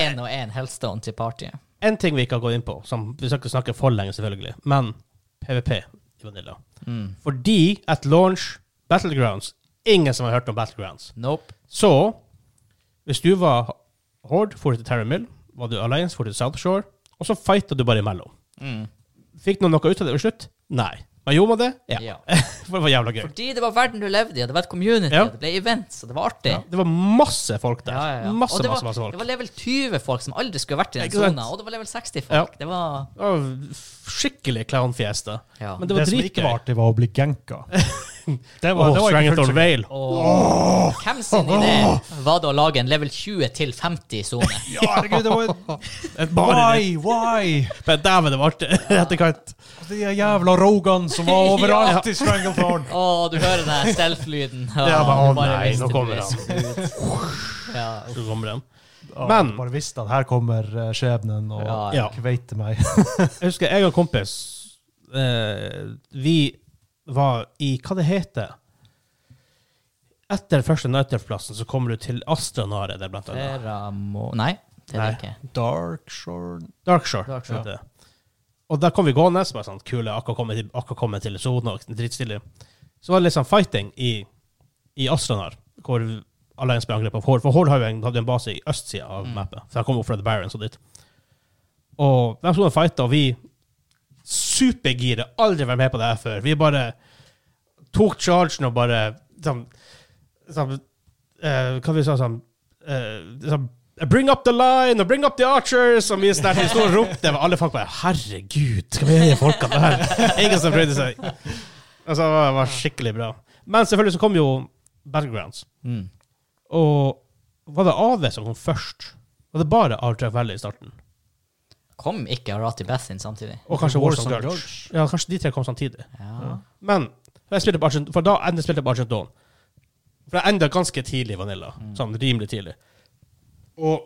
Speaker 2: Én og én Hellstone til partyet.
Speaker 1: En ting vi ikke har gått inn på, som vi skal ikke snakke for lenge, selvfølgelig, men PVP i Vanilla.
Speaker 2: Mm.
Speaker 1: Fordi at launch Battlegrounds Ingen som har hørt om Battlegrounds.
Speaker 2: Nope.
Speaker 1: Så hvis du var Horde, for til Terra Mill, var du Alliance, for til South Shore, og så fighta du bare imellom.
Speaker 2: Mm.
Speaker 1: Fikk noen noe ut av det til slutt? Nei. Men gjorde man det? Ja.
Speaker 2: Ja.
Speaker 1: For det var jævla gøy.
Speaker 2: Fordi det var verden du levde i, og det var et community,
Speaker 1: Ja.
Speaker 2: og det ble events, og det var artig.
Speaker 1: Det var masse folk der.
Speaker 2: Ja, ja, ja.
Speaker 1: Masse,
Speaker 2: Og det
Speaker 1: masse,
Speaker 2: var,
Speaker 1: masse folk.
Speaker 2: Det var level 20 folk som aldri skulle vært i den
Speaker 1: Ikke sant?
Speaker 2: sona, og det var level 60 folk.
Speaker 1: Ja.
Speaker 2: Det var
Speaker 1: Det var skikkelig clownfjes, da.
Speaker 2: ja.
Speaker 1: Men
Speaker 3: Det,
Speaker 1: det var
Speaker 3: som ikke
Speaker 1: dritgøy.
Speaker 3: var artig, var å bli genka. Det
Speaker 1: Åh,
Speaker 3: ikke
Speaker 1: Stranglethorn
Speaker 3: fullt så-
Speaker 1: Vale.
Speaker 2: Og hvem sin idé var det å lage en level 20 til 50-sone?
Speaker 3: Ja, herregud, det var
Speaker 1: Et barn.
Speaker 3: Why? Why?
Speaker 1: Men dæven, det var artig. Etterkant.
Speaker 3: De jævla rogene som var overalt
Speaker 2: Ja.
Speaker 3: i Stranglethorn.
Speaker 2: Å, du hører den her stealth-lyden. Å,
Speaker 1: Ja, men,
Speaker 2: du
Speaker 1: å nei,
Speaker 2: visste
Speaker 1: nå
Speaker 2: du
Speaker 1: kommer
Speaker 2: ble så god. Ja.
Speaker 1: Så kommer den.
Speaker 3: Ja,
Speaker 1: Men-
Speaker 3: Bare visste at her kommer eh, skjebnen og
Speaker 2: Ja,
Speaker 1: ja.
Speaker 3: kveite meg.
Speaker 1: Jeg husker jeg og en kompis eh, Vi var i Hva det heter Etter første Nighterplassen så kommer du til Astranaret der, blant annet.
Speaker 2: Teramo... Nei, det er
Speaker 1: Nei.
Speaker 2: det ikke.
Speaker 3: Dark Shore
Speaker 1: Darkshore.
Speaker 2: Darkshore.
Speaker 1: heter det. Og der kom vi gående, så bare sånn kule, akkurat kommet til, akkurat kommet til sonen, og drittstille. Så var det litt sånn fighting i, i Astranar, hvor Alliance ble angrepet av Horde. For Horde har jo en, hadde jo en base i østsida av mappet, for jeg kom opp fra The Barons og dit. Og de sto og fighta, og vi supergire, aldri vært med på det her før. Vi bare tok chargen og bare sånn, sånn eh, Hva vi sa sånn, eh, sånn Bring up the line og bring up the archers! Og vi snart vi sto og ropte. og Alle folk bare Herregud, skal vi gjøre folkene det her? Ingen som brydde seg. Altså, det var skikkelig bra. Men selvfølgelig så kom jo Battlegrounds.
Speaker 2: Mm.
Speaker 1: Og var det AV som kom først? Var det bare Artrack Valley i starten?
Speaker 2: Kom ikke Arati Bassin samtidig?
Speaker 1: Og kanskje
Speaker 3: Warzone
Speaker 1: Warzone Gulch?
Speaker 3: Gulch.
Speaker 1: Ja, kanskje de tre kom samtidig.
Speaker 2: Ja.
Speaker 1: Men for, jeg spilte på Argent, for da endte jeg spilte på Argent Dawn. For jeg enda ganske tidlig i Vanilla. Sånn rimelig tidlig. Og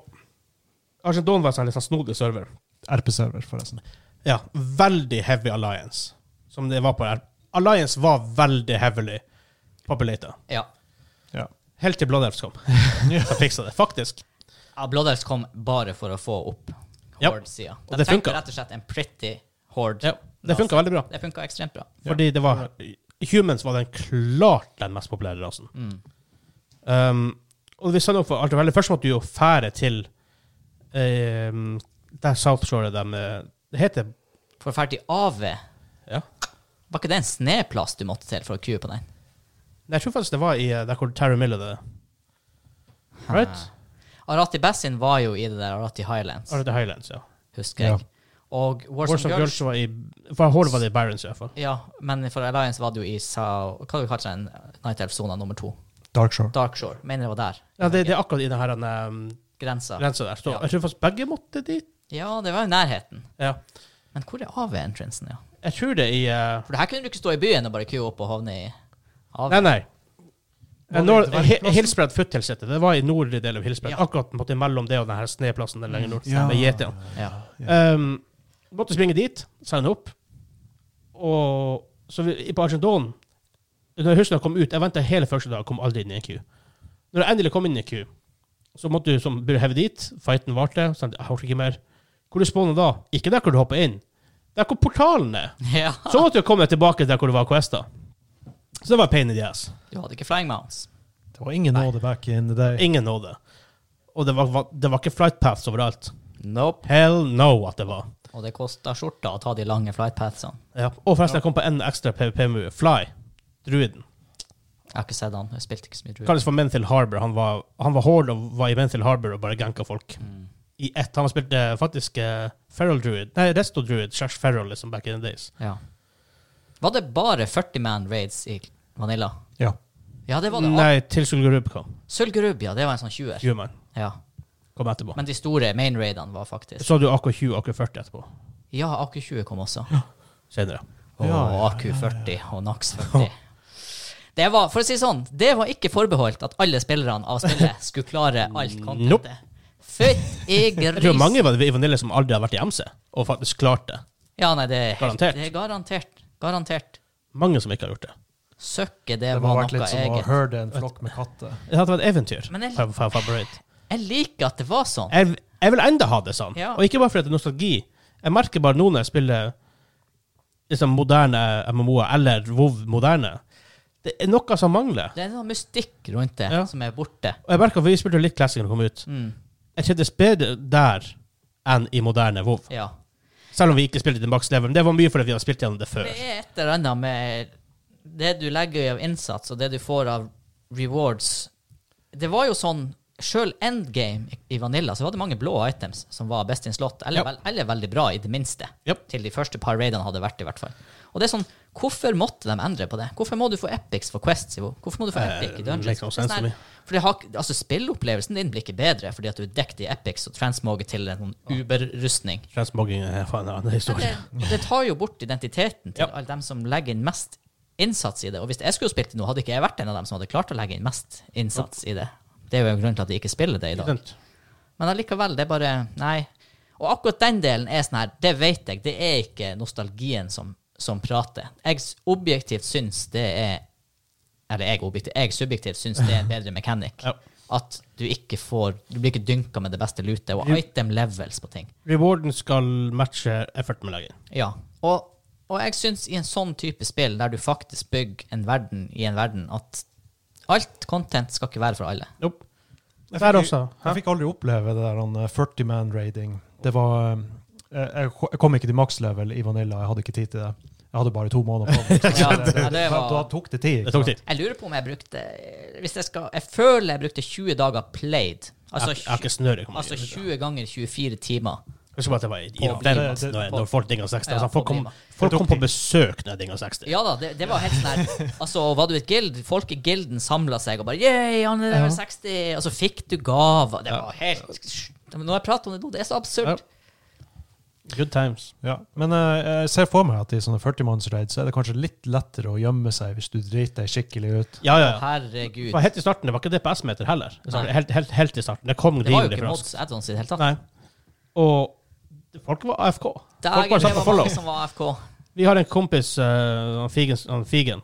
Speaker 1: Argent Dawn var en sånn litt sånn snodig server.
Speaker 3: RP-server, forresten.
Speaker 1: Ja, veldig heavy Alliance. Som det var på der. Alliance var veldig heavily populated.
Speaker 2: ja.
Speaker 3: Ja.
Speaker 1: Helt til Blood Elves kom. Så fiksa det, faktisk.
Speaker 2: Ja, Blood Elves kom bare for å få opp
Speaker 1: Ja.
Speaker 2: Horde-sida.
Speaker 1: Og
Speaker 2: De
Speaker 1: det
Speaker 2: trengte
Speaker 1: funka.
Speaker 2: rett og slett en pretty
Speaker 1: Ja,
Speaker 2: Horde.
Speaker 1: det funka veldig bra.
Speaker 2: Det funka ekstremt bra.
Speaker 1: Fordi det var Humans var den klart den mest populære rasen.
Speaker 2: Mm.
Speaker 1: Um, og vi sender opp for alt det veldig. Først måtte du jo fære til um, der South Shore de Det heter
Speaker 2: For å ferdig AV,
Speaker 1: ja.
Speaker 2: var ikke det en sneplass du måtte til for å kue på den?
Speaker 1: Nei, Jeg tror faktisk det var i eh, der hvor Terry Miller det Right?
Speaker 2: Arati Bassin var jo i det der Arati Highlands,
Speaker 1: Eller The Highlands, ja.
Speaker 2: husker jeg. Og Warsome
Speaker 1: Warzone
Speaker 2: Girls
Speaker 1: Girls var i For Horde var det i Barents, i hvert fall.
Speaker 2: Ja, men for Alliance var det jo i Sao... Hva kalte du den? Night Elf-sona nummer to.
Speaker 3: Dark Shore.
Speaker 2: Dark Shore. Mener det var der.
Speaker 1: Ja, det, det er akkurat i denne um,
Speaker 2: Grensa.
Speaker 1: grensa der. Så
Speaker 2: Ja.
Speaker 1: jeg tror faktisk begge måtte dit.
Speaker 2: Ja, det var i nærheten.
Speaker 1: Ja.
Speaker 2: Men hvor er AV-entrancen, ja?
Speaker 1: Jeg tror det i eh,
Speaker 2: For det her kunne du ikke stå i byen og bare kue opp og havne i AV.
Speaker 1: Nei, nei.
Speaker 3: Var det
Speaker 1: Når,
Speaker 3: ikke
Speaker 1: Hi-
Speaker 3: Verkplassen?
Speaker 1: Hillspread Foothill City. Det var i nordre del av Hillspread.
Speaker 2: Ja.
Speaker 1: Akkurat på en måte mellom det og denne sneplassen der lenger nord.
Speaker 3: Ja.
Speaker 1: Med gjetene.
Speaker 2: Ja.
Speaker 1: Um, måtte springe dit, signe opp. Og så vi, på Argenton Når jeg husker jeg kom ut, jeg venta hele første dag, kom aldri inn i en queue. Når jeg endelig kom inn i en queue, så måtte du som burde heve dit. Fighten varte. Så jeg orker ikke mer. Hvor du spawner da? Ikke der hvor du hopper inn. Der hvor portalen er.
Speaker 2: ja.
Speaker 1: Så måtte jeg komme tilbake der hvor det var questa. Så det var pain in the ass.
Speaker 2: Du hadde ikke flying mounts.
Speaker 3: Det var ingen nåde back in the day.
Speaker 1: Ingen nådde. Og det var, var, det var ikke flight paths overalt.
Speaker 2: Nope.
Speaker 1: Hell no at det var.
Speaker 2: Og det kosta skjorta å ta de lange flightpadsene.
Speaker 1: Ja. Og forresten, jeg kom på en ekstra PVP-move. Fly. Druiden.
Speaker 2: Jeg har ikke sett han. Jeg spilte ikke så mye druid.
Speaker 1: Kalles for Menthil Harbor. Han var, han var hård og var i Menthil Harbor og bare ganka folk.
Speaker 2: Mm.
Speaker 1: I ett. Han har spilt eh, faktisk eh, Feral Druid. Nei, Resto Druid slash Feral liksom back in the days.
Speaker 2: Ja. Var det bare 40 man raids i Vanilla?
Speaker 3: Ja.
Speaker 2: Ja, det var det.
Speaker 1: Nei, til Sulgurub kom.
Speaker 2: Sølvgrubb, ja. Det var en sånn 20-er.
Speaker 1: Human
Speaker 2: Ja.
Speaker 1: kom etterpå.
Speaker 2: Men de store main raidene var faktisk
Speaker 1: Så hadde du AK20 og AK40 etterpå.
Speaker 2: Ja, AQ20 kom også.
Speaker 1: Senere.
Speaker 2: Og
Speaker 3: Ja, ja,
Speaker 2: AQ40 og NAX 40. Det var, for å si det sånn, det var ikke forbeholdt at alle spillerne av spillet skulle klare alt
Speaker 1: Nope.
Speaker 2: contentet. Fytt i
Speaker 1: Jeg tror
Speaker 2: gris!
Speaker 1: mange var i Vanille som aldri har vært i MC, og faktisk klarte det.
Speaker 2: Ja, nei, det er, helt,
Speaker 1: Garantert.
Speaker 2: det er garantert. Garantert.
Speaker 1: Mange som ikke har gjort det.
Speaker 2: Søkket, det,
Speaker 3: Det må ha
Speaker 2: var
Speaker 3: vært litt
Speaker 2: noe
Speaker 3: som å
Speaker 2: eget.
Speaker 3: herde en flokk med katter.
Speaker 1: Det hadde vært et eventyr.
Speaker 2: Men jeg-
Speaker 1: Fa- fa- favorite.
Speaker 2: Jeg liker at det var sånn.
Speaker 1: Jeg, jeg vil enda ha det sånn.
Speaker 2: Ja.
Speaker 1: Og ikke bare fordi det er nostalgi. Jeg merker bare nå når jeg spiller liksom moderne MMO-er eller WoW moderne, det er noe som mangler.
Speaker 2: Det er en sånn mystikk rundt det
Speaker 1: Ja.
Speaker 2: som er borte.
Speaker 1: Og jeg merker, Vi spilte jo litt classic når det kom ut.
Speaker 2: Mm,
Speaker 1: Jeg kjentes bedre der enn i moderne WoW.
Speaker 2: ja.
Speaker 1: Selv om vi ikke spilte til max level. Men det var mye fordi vi hadde spilt gjennom det før.
Speaker 2: Det er et eller annet med det du legger i av innsats, og det du får av rewards. Det var jo sånn Sjøl endgame i- i Vanilla så var det mange blå items som var best in slot, eller,
Speaker 1: Ja.
Speaker 2: vel, eller veldig bra, i det minste.
Speaker 1: Japp.
Speaker 2: Til de første par raidene hadde vært, i hvert fall. Og det er sånn, hvorfor måtte de endre på det? Hvorfor må du få epics for quests? Ivo? Hvorfor må du få
Speaker 1: Eh,
Speaker 2: epic i
Speaker 1: makes
Speaker 2: dungeons?
Speaker 1: no
Speaker 2: Det er
Speaker 1: sense to
Speaker 2: sånn
Speaker 1: me.
Speaker 2: her- For det har, ikke- altså, spillopplevelsen din blir ikke bedre fordi at du er dekket i epics og transmoget til en sånn uber-rustning.
Speaker 1: Transmogging er faen en annen
Speaker 2: Men
Speaker 1: historie.
Speaker 2: det, det tar jo bort identiteten til
Speaker 1: Ja.
Speaker 2: alle dem som legger inn mest innsats i det. Og hvis jeg skulle spilt det nå, hadde ikke jeg vært en av dem som hadde klart å legge inn mest innsats i det. Det er jo en grunn til at de ikke spiller det i dag.
Speaker 1: Skjønt.
Speaker 2: Men allikevel, det er bare Nei. Og akkurat den delen er sånn her, det vet jeg, det er ikke nostalgien som, som prater. Jeg s- objektivt syns det er Eller jeg objektivt, jeg subjektivt syns det er en bedre mekanikk.
Speaker 1: Ja.
Speaker 2: At du ikke får Du blir ikke dynka med det beste lutet, og item levels på ting.
Speaker 1: Rewarden skal matche efforten med leggen.
Speaker 2: Ja, og, og jeg syns i en sånn type spill, der du faktisk bygger en verden i en verden, at alt content skal ikke være for alle.
Speaker 1: Nope.
Speaker 3: Jeg
Speaker 1: Der
Speaker 3: fikk-
Speaker 1: også. Hæ?
Speaker 3: Jeg fikk aldri oppleve det der han, eh, 40 man raiding. Det var eh, Jeg jeg kom ikke til max level i Vanilla, jeg hadde ikke tid til det. Jeg hadde bare to måneder på meg.
Speaker 2: Ja,
Speaker 3: Så
Speaker 2: ja, det var-
Speaker 3: Da tok det tid.
Speaker 1: Det tok tid.
Speaker 2: Jeg lurer på om jeg brukte hvis jeg, skal, jeg føler jeg brukte 20 dager played.
Speaker 1: Jeg
Speaker 2: Altså,
Speaker 1: jeg har ikke snøring.
Speaker 2: tjue- altså 20 ganger 24 timer.
Speaker 1: Husk bare at det var i
Speaker 3: På-
Speaker 1: advent
Speaker 3: det- det-
Speaker 1: når,
Speaker 2: på-
Speaker 1: når folk dinga 60.
Speaker 2: Ja,
Speaker 1: altså, folk
Speaker 2: på
Speaker 1: kom,
Speaker 2: Prima.
Speaker 1: folk
Speaker 3: Det
Speaker 1: kom
Speaker 3: tok
Speaker 1: på besøk når jeg dinga 60.
Speaker 2: Ja da, det, det var helt sånn her Altså, var du i et gild, folk i gilden samla seg og bare Yeah, han er level 60! Og så fikk du gaver. Det var helt Når jeg prater om det nå, det er så absurd.
Speaker 1: Good times.
Speaker 3: Ja. Men eh, jeg ser for meg at i sånne 40 manns raid så er det kanskje litt lettere å gjemme seg hvis du driter deg skikkelig ut.
Speaker 1: Ja, ja, ja.
Speaker 2: Herregud.
Speaker 1: Det var helt i starten, det var ikke DPS-meter heller. Det var
Speaker 2: Nei.
Speaker 1: Helt, helt, helt i starten. Det kom
Speaker 2: Det var jo
Speaker 1: rimelig
Speaker 2: ikke
Speaker 1: raskt.
Speaker 2: Mods Addons i det hele tatt.
Speaker 1: Nei. Og folk var AFK.
Speaker 2: Dagen,
Speaker 1: folk bare
Speaker 2: det
Speaker 1: satt
Speaker 2: var
Speaker 1: og follow.
Speaker 2: mange som var AFK.
Speaker 1: Vi har en kompis, eh, han, Figen, han Figen.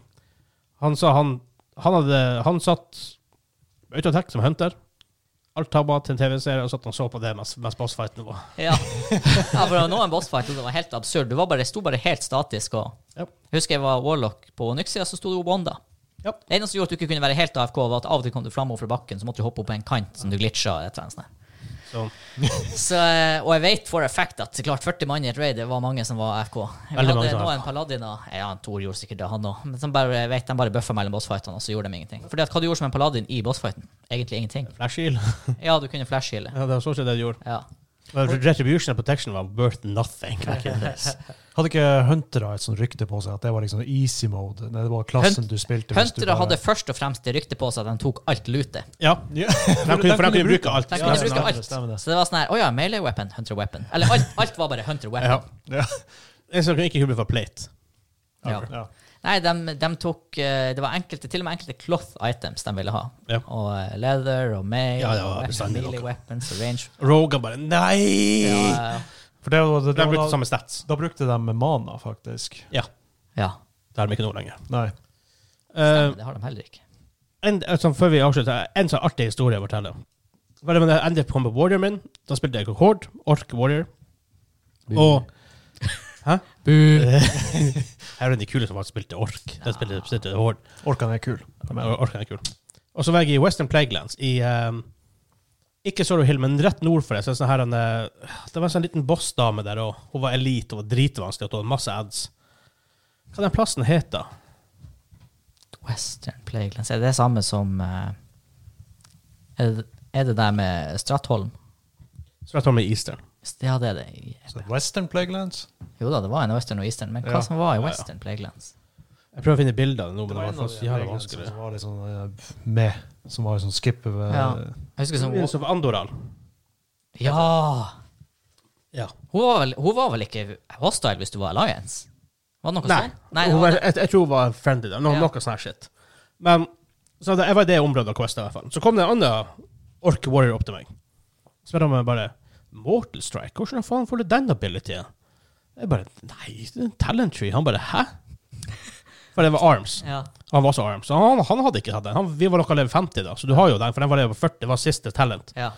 Speaker 1: Han sa han Han, hadde, han satt autotek som hunter. Alt tabba til en TV-serie, og satt og så på det mens, mens bossfighten var.
Speaker 2: Ja. ja, for det var nå en bossfight, og det var helt absurd. Du var bare, sto bare helt statisk. Og...
Speaker 1: Ja.
Speaker 2: Jeg husker jeg var Warlock på Nyxia, så sto det Wanda.
Speaker 1: Ja.
Speaker 2: Det eneste som gjorde at du ikke kunne være helt AFK, var at av og til kom du framover fra bakken, så måtte du hoppe opp på en kant som du glitcha. Et eller annet sånt.
Speaker 1: Så,
Speaker 2: Så, eh, og jeg vet for a fact at klart 40 mann i et raid, det var mange som var AFK. Vi
Speaker 1: Veldig
Speaker 2: hadde
Speaker 1: mange som var
Speaker 2: noen paladiner Ja, Tor gjorde sikkert det, han òg. Men som bare, jeg vet, de bare bøffa mellom bossfightene, og så gjorde de ingenting. Fordi at hva du gjorde som en paladin i bossfighten? Egentlig ingenting.
Speaker 1: Flashheal.
Speaker 2: Ja, du kunne flashheale.
Speaker 1: Ja, det var stort sett det de gjorde.
Speaker 2: Ja.
Speaker 1: Well, Retribution and protection var worth nothing. Back in this.
Speaker 3: Hadde ikke Huntere et sånt rykte på seg at det var liksom easy mode? Nei, det var klassen du spilte hvis du
Speaker 2: Huntere hadde først og fremst det ryktet på seg at de tok alt lootet.
Speaker 1: Ja,
Speaker 3: Ja.
Speaker 1: for de kunne, for de kunne bruke alt.
Speaker 2: De
Speaker 3: Ja,
Speaker 2: kunne
Speaker 3: stemmer
Speaker 2: bruke
Speaker 3: det,
Speaker 2: alt.
Speaker 3: stemmer det.
Speaker 2: Så det var sånn her Å ja, melee weapon, hunter weapon. Eller alt, alt var bare hunter
Speaker 1: Ja.
Speaker 2: weapon.
Speaker 1: En som ikke kunne bli for plate.
Speaker 2: Ja.
Speaker 3: Ja.
Speaker 2: Nei, de, tok eh, Det var enkelte, til og med enkelte cloth items de ville ha.
Speaker 1: Ja.
Speaker 2: Og eh, leather og mail,
Speaker 1: Ja, det var
Speaker 2: og weapon,
Speaker 1: bestandig
Speaker 2: melee
Speaker 1: noe.
Speaker 2: weapons og range.
Speaker 1: Rogan bare Nei!
Speaker 2: Ja,
Speaker 3: For det var, det,
Speaker 1: For de brukte
Speaker 3: var,
Speaker 1: samme stats.
Speaker 3: da, da brukte de mana, faktisk.
Speaker 1: Ja.
Speaker 2: ja,
Speaker 1: Det har de ikke nå lenger.
Speaker 3: Nei.
Speaker 2: stemmer, det har de heller ikke.
Speaker 1: Eh, en, altså, før vi avslutter, en sånn artig historie å fortelle. Var det med den Endelig Combat Warrior min. Da spilte jeg Horde, Ork Warrior. Og Her er de kule som faktisk spilte Ork. Den spilte, spilte Horde.
Speaker 3: Orkan er kul.
Speaker 1: Men Orkan er kul. Og så var jeg i Western Plaguelands, i ehm, Ikke Sorrow Hill, men rett nord for det. Så er det sånn her, en, eh, det var en sånn liten bossdame der òg. Hun var elite og var dritvanskelig og hadde masse ads. Hva den plassen het da?
Speaker 2: Western Plaguelands Er det det samme som eh, er, det, er det der med Stratholm?
Speaker 1: Så jeg tar med Eastern.
Speaker 2: Ja, det er det.
Speaker 3: Så Western Plaguelands?
Speaker 2: Jo da, det var en western og eastern, men hva
Speaker 3: Ja.
Speaker 2: som var i
Speaker 1: ja.
Speaker 2: Western Plaguelands?
Speaker 1: Jeg prøver å finne bilder av det nå,
Speaker 3: Det
Speaker 1: men
Speaker 3: var
Speaker 1: det var
Speaker 3: en av
Speaker 1: faktisk
Speaker 3: de
Speaker 1: jævla
Speaker 3: reglene
Speaker 1: vanskelig.
Speaker 3: som var litt sånn eh, med, som var sånn skip over
Speaker 2: Ja. Jeg husker
Speaker 3: altså.
Speaker 1: Som,
Speaker 2: som
Speaker 1: som var Andoral.
Speaker 2: Ja!
Speaker 1: Ja.
Speaker 2: Hun var vel, hun var vel ikke hostile hvis du var Alliance? Var det noe
Speaker 1: Nei,
Speaker 2: sånn? Nei, det
Speaker 1: hun
Speaker 2: var
Speaker 1: var,
Speaker 2: det.
Speaker 1: jeg, jeg tror hun var friendly der. No,
Speaker 2: Ja.
Speaker 1: Noe sånn her shit. Men så det, jeg var i det området av Quest i hvert fall. Så kom det en annen Ork Warrior opp til meg. Så spør han meg bare Mortal Strike, hvordan faen får du den abilityen? Jeg bare Nei, det er en talent tree. Han bare Hæ? For det var arms.
Speaker 2: Ja.
Speaker 1: Han var også arms. Så han, han hadde ikke hatt den. Han, vi var noe level 50 da, så du har jo den, for den var level 40. Det var siste talent.
Speaker 2: ja.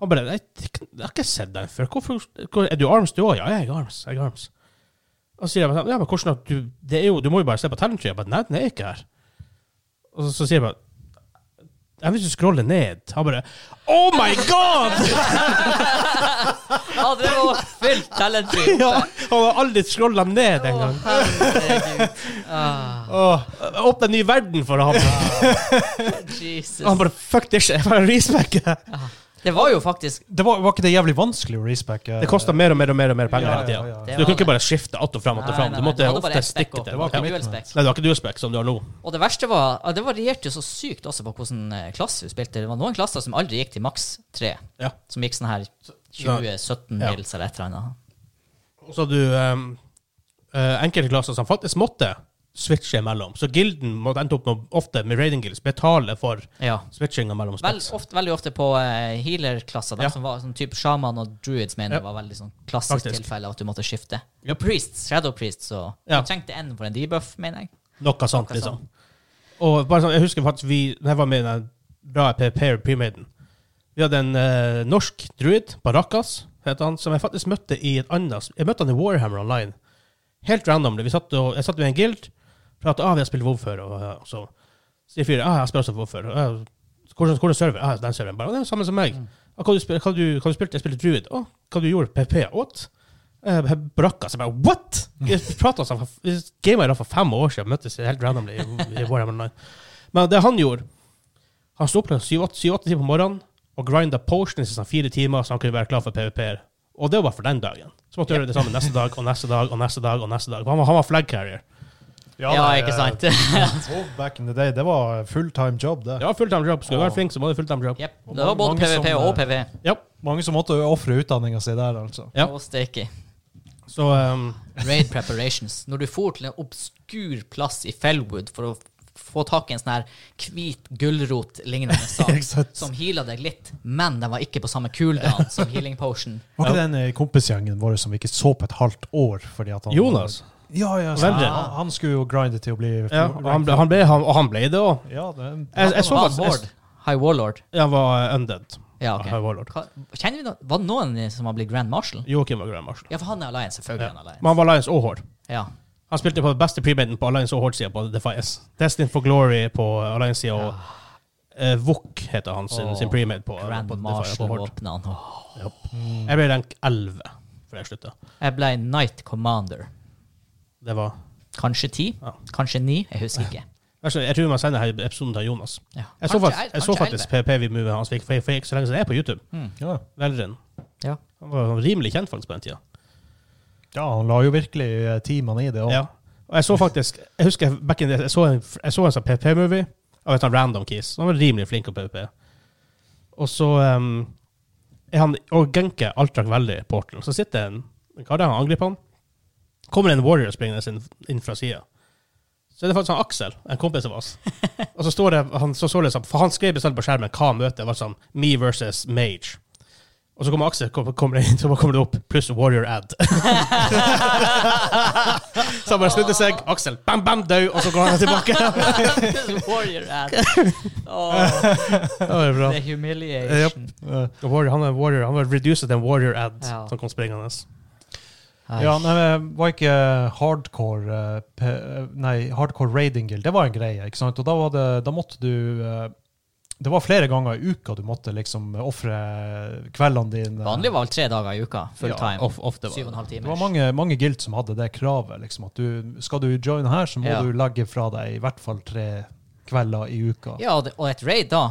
Speaker 1: Han bare Nei, jeg har ikke sett den før. Hvorfor, hvor, er du arms, du òg? Ja, jeg er arms. Jeg er arms. Og så sier jeg bare sånn, Ja, men hvordan at du det er jo, Du må jo bare se på talent tree. Jeg bare Nei, den er ikke her. Og så, så sier jeg bare jeg vil ikke scrolle ned. Han bare Oh my god!
Speaker 2: Ja, det var fullt talentfri.
Speaker 1: ja, han har aldri scrolla ned engang.
Speaker 2: herregud. Ah,
Speaker 1: Åh, Åpne en ny verden for ham.
Speaker 2: Jesus.
Speaker 1: Han bare Fuck this shit. Jeg bare respecter det.
Speaker 2: Det var jo faktisk
Speaker 3: Det var, var ikke det jævlig vanskelig å eh? respecke?
Speaker 1: Det kosta mer og mer og mer og mer penger
Speaker 3: Ja,
Speaker 1: hele
Speaker 3: ja,
Speaker 1: tida.
Speaker 3: ja.
Speaker 1: Så Du kunne ikke bare skifte att og fram att og fram. Du måtte ofte stikke til.
Speaker 2: Det var
Speaker 1: Ja.
Speaker 2: ikke dualspec.
Speaker 1: Nei, du har ikke dualspec som du har nå.
Speaker 2: Og det verste var ja, Det varierte jo så sykt også på hvordan eh, klasse du spilte. Det var noen klasser som aldri gikk til maks tre.
Speaker 1: Ja.
Speaker 2: Som gikk sånn her 20-17
Speaker 1: Ja.
Speaker 2: mils eller et eller annet.
Speaker 1: Og så hadde du um, enkelte klasser som faktisk måtte switche imellom. Så gilden måtte endte opp med, ofte med raiding guilds betale for
Speaker 2: Ja.
Speaker 1: switchinga mellom
Speaker 2: Vel,
Speaker 1: specs.
Speaker 2: ofte, veldig ofte på eh, healer-klasser, de
Speaker 1: Ja.
Speaker 2: som var sånn type sjaman og druids, mener jeg var veldig sånn klassisk
Speaker 1: Faktisk.
Speaker 2: tilfelle at du måtte skifte.
Speaker 1: Japp.
Speaker 2: Priests, shadow priests, så
Speaker 1: Ja.
Speaker 2: du trengte en for en debuff, mener jeg.
Speaker 1: Noe sånt,
Speaker 2: Noe
Speaker 1: liksom. Og bare sånn, jeg husker faktisk vi når jeg var med i den bra Pair Premaiden. Vi hadde en eh, norsk druid, Barrakas, het han, som jeg faktisk møtte i et annet Jeg møtte han i Warhammer Online. Helt randomly. Vi satt og, jeg satt med en guild, pratet ah, vi har spilt WoW før, og, eh, så sier fyren ah, jeg spiller også WoW før. Ah, hvordan, hvordan server? Ah, den serveren. Bare, «Å, det er jo samme som meg. Ah, hva, du, spil- hva, du, hva du spilte? Jeg spilte druid. Å, hva du gjorde? PP? What? Eh, Barrakas. Jeg bare what?! Vi pratet sammen, for- vi gamet i hvert fall fem år siden, møttes helt randomly i, i Warhammer Online. Men det han gjorde han sto opp til syv-åtte syv-åtte timer på morgenen og grinda potions i sånn fire timer, så han kunne være klar for PVP-er. Og det var for den dagen. Så måtte han gjøre det samme neste dag og neste dag og neste dag. og neste dag. Han var, han var flag carrier.
Speaker 2: Ja,
Speaker 3: det-
Speaker 2: ikke sant?
Speaker 4: Oh, back in the day, det var fulltime job, det.
Speaker 1: Det var fulltime job. Skulle du være flink, så må du fulltime job.
Speaker 2: Jepp. Det var både
Speaker 3: mange som,
Speaker 2: PVP og
Speaker 3: eh,
Speaker 2: OPV.
Speaker 1: Ja.
Speaker 3: Mange som måtte ofre utdanninga si der, altså.
Speaker 1: Ja.
Speaker 2: Og steaky.
Speaker 1: Så um,
Speaker 2: Raid preparations. Når du for til en obskur plass i Fellwood for å f- få tak i en sånn her hvit gulrot-lignende sak
Speaker 3: sant.
Speaker 2: som heala deg litt, men den var ikke på samme cooldown som healing potion.
Speaker 3: Var ikke den i kompisgjengen vår som vi ikke så på et halvt år? Fordi at han,
Speaker 1: Jonas.
Speaker 3: Ja, ja,
Speaker 1: Hvem
Speaker 3: sant.
Speaker 1: det?
Speaker 3: han, han skulle jo grinde til å bli
Speaker 1: Ja, og han ble, han ble, han, og han ble det òg.
Speaker 3: Ja, det-
Speaker 1: Jeg, jeg så
Speaker 2: Var han
Speaker 1: faktisk jeg,
Speaker 2: Horde? High Warlord.
Speaker 1: Han var uh, undead.
Speaker 2: Ja, ok.
Speaker 1: Han var warlord.
Speaker 2: Hva, kjenner vi noen, Var det noen som har blitt Grand Marshal?
Speaker 1: Joakim var Grand Marshal.
Speaker 2: Ja, for han er Alliance. Selvfølgelig er han
Speaker 1: Men
Speaker 2: Alliance.
Speaker 1: han var Alliance og Horde.
Speaker 2: Ja.
Speaker 1: Han spilte på den beste premaden på Alliance og Horde-sida på Defias. Destined for Glory på Alliance-sida, og eh, Vok heter han sin,
Speaker 2: Åh,
Speaker 1: sin premade på,
Speaker 2: Grand
Speaker 1: på Defias på Horde.
Speaker 2: Marshal-våpnene. Åh.
Speaker 1: Jeg ble rank 11 før jeg slutta.
Speaker 2: Jeg ble Knight Commander.
Speaker 1: Det var
Speaker 2: Kanskje ti?
Speaker 1: Ja.
Speaker 2: Kanskje ni? Jeg husker ikke.
Speaker 1: Altså, Jeg tror man sender her episoden til Jonas.
Speaker 2: Ja.
Speaker 1: Jeg så,
Speaker 2: Kanskje
Speaker 1: faktisk,
Speaker 2: el-
Speaker 1: jeg så
Speaker 2: kanskje
Speaker 1: faktisk PPV-movet hans fikk for, for ikke
Speaker 2: Mm.
Speaker 1: så lenge siden. Det er på YouTube.
Speaker 3: ja.
Speaker 1: Velrin.
Speaker 2: elleve. Ja.
Speaker 1: Han var rimelig kjent faktisk på den tida.
Speaker 3: Ja, han la jo virkelig eh, timene i det. også.
Speaker 1: Ja. Og jeg så faktisk Jeg husker jeg- back in the, jeg så en, jeg så en sånn PVP-movie av et sånt random keys. Han var rimelig flink på PVP. Og så um, er han og Genke altrakk veldig Portal. Så sitter en en kar der, han angriper han. Kommer en warrior springende inn, inn fra sida. Så er det faktisk han Aksel, en kompis av oss. Og så står det, han, så, så det sånn, for han skrev bestemt på skjermen hva møtet var sånn, me versus mage. Og så kommer Aksel, kom- kommer det inn, så kommer det opp, pluss warrior ad. Så han bare snudde seg, Aksel bam, bam, død, og så går han tilbake.
Speaker 2: Warrior ad. Åh,
Speaker 1: det var bra.
Speaker 2: det er humiliation.
Speaker 1: Og Warrior, han er warrior, han var reduced til en warrior ad
Speaker 2: Ja.
Speaker 1: som kom springende.
Speaker 3: Ja, nei, men var ikke hardcore eh, pe- eh, Nei, hardcore raiding guild, det var en greie, ikke sant? Og da, var det, da måtte du eh, Det var flere ganger i uka du måtte liksom ofre kveldene dine.
Speaker 2: Vanlig var vel tre dager i uka, full time.
Speaker 1: of, ofte
Speaker 2: Syv
Speaker 1: var
Speaker 2: og en
Speaker 1: det.
Speaker 2: halv
Speaker 3: Det var
Speaker 2: time.
Speaker 3: mange, mange guild som hadde det kravet, liksom, at du, skal du joine her, så må
Speaker 2: Ja.
Speaker 3: du legge fra deg i hvert fall tre kvelder i uka.
Speaker 2: Ja, og det- og et raid da,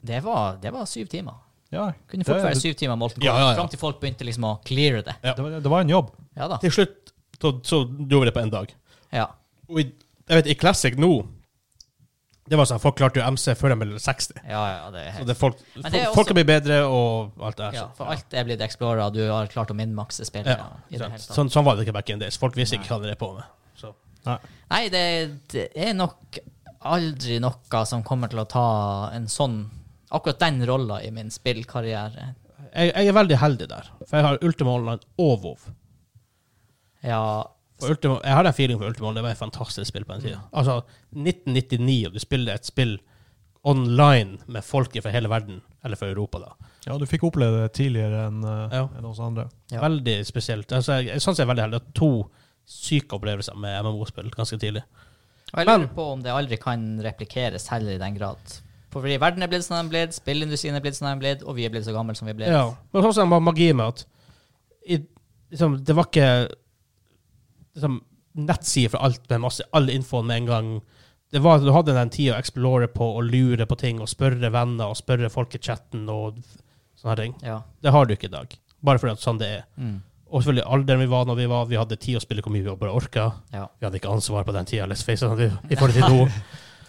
Speaker 2: det var, det var syv timer.
Speaker 3: Ja,
Speaker 2: Kunne fort
Speaker 3: det-
Speaker 2: være syv timer Molten
Speaker 1: Ja, ja, ja.
Speaker 2: Fram til folk begynte liksom å cleare det.
Speaker 1: Ja.
Speaker 3: Det, var- det var en jobb.
Speaker 2: Ja da.
Speaker 1: Til slutt så, så gjorde vi det på en dag.
Speaker 2: Ja.
Speaker 1: Og i, jeg vet, i Classic nå, det var sånn, folk klarte jo MC før de ble 60.
Speaker 2: Ja, ja, det er
Speaker 1: Så
Speaker 2: helt
Speaker 1: det er folk,
Speaker 2: Men det er
Speaker 1: folk-
Speaker 2: også-
Speaker 1: folk blir bedre og alt det der.
Speaker 2: ja,
Speaker 1: så-
Speaker 2: For alt er blitt Explorer, og du har klart å minmakse spillet.
Speaker 1: Ja,
Speaker 2: i det
Speaker 1: sant.
Speaker 2: hele tatt.
Speaker 1: sånn, sånn var det ikke back in days. Folk visste ikke hva de drev på med. Så. Sånn-
Speaker 2: Nei, det, det er nok aldri noe som kommer til å ta en sånn Akkurat den rolla i min spillkarriere.
Speaker 1: Jeg, jeg er veldig heldig der, for jeg har Ultima Online og WoW.
Speaker 2: Ja,
Speaker 1: Og Ultima, jeg hadde en feeling for Ultima Online. Det var et fantastisk spill på den tida. Altså, 1999, og du spiller et spill online med folk fra hele verden, eller fra Europa, da.
Speaker 3: Ja, du fikk oppleve det tidligere enn eh,
Speaker 1: Ja.
Speaker 3: enn oss andre.
Speaker 2: Ja.
Speaker 1: Veldig spesielt. Altså, jeg, jeg syns jeg er veldig heldig. Jeg har to syke opplevelser med MMO-spill ganske tidlig.
Speaker 2: og jeg lurer på om det aldri kan replikeres heller i den grad. For fordi verden er blitt som den er blitt, spillindustrien er blitt som den er blitt, og vi er blitt så gamle som vi er blitt.
Speaker 1: Ja. Men også en magi med at i, liksom, det var ikke liksom, nettsider for alt med masse, all infoen med en gang. Det var, du hadde den tida å explore på og lure på ting og spørre venner og spørre folk i chatten og sånne ting.
Speaker 2: Ja.
Speaker 1: Det har du ikke i dag. Bare fordi at sånn det er.
Speaker 2: Mm.
Speaker 1: Og selvfølgelig alderen vi var når vi var. Vi hadde tid å spille hvor mye vi bare orka.
Speaker 2: ja.
Speaker 1: Vi hadde ikke ansvar på den tida, let's face it, i forhold til nå.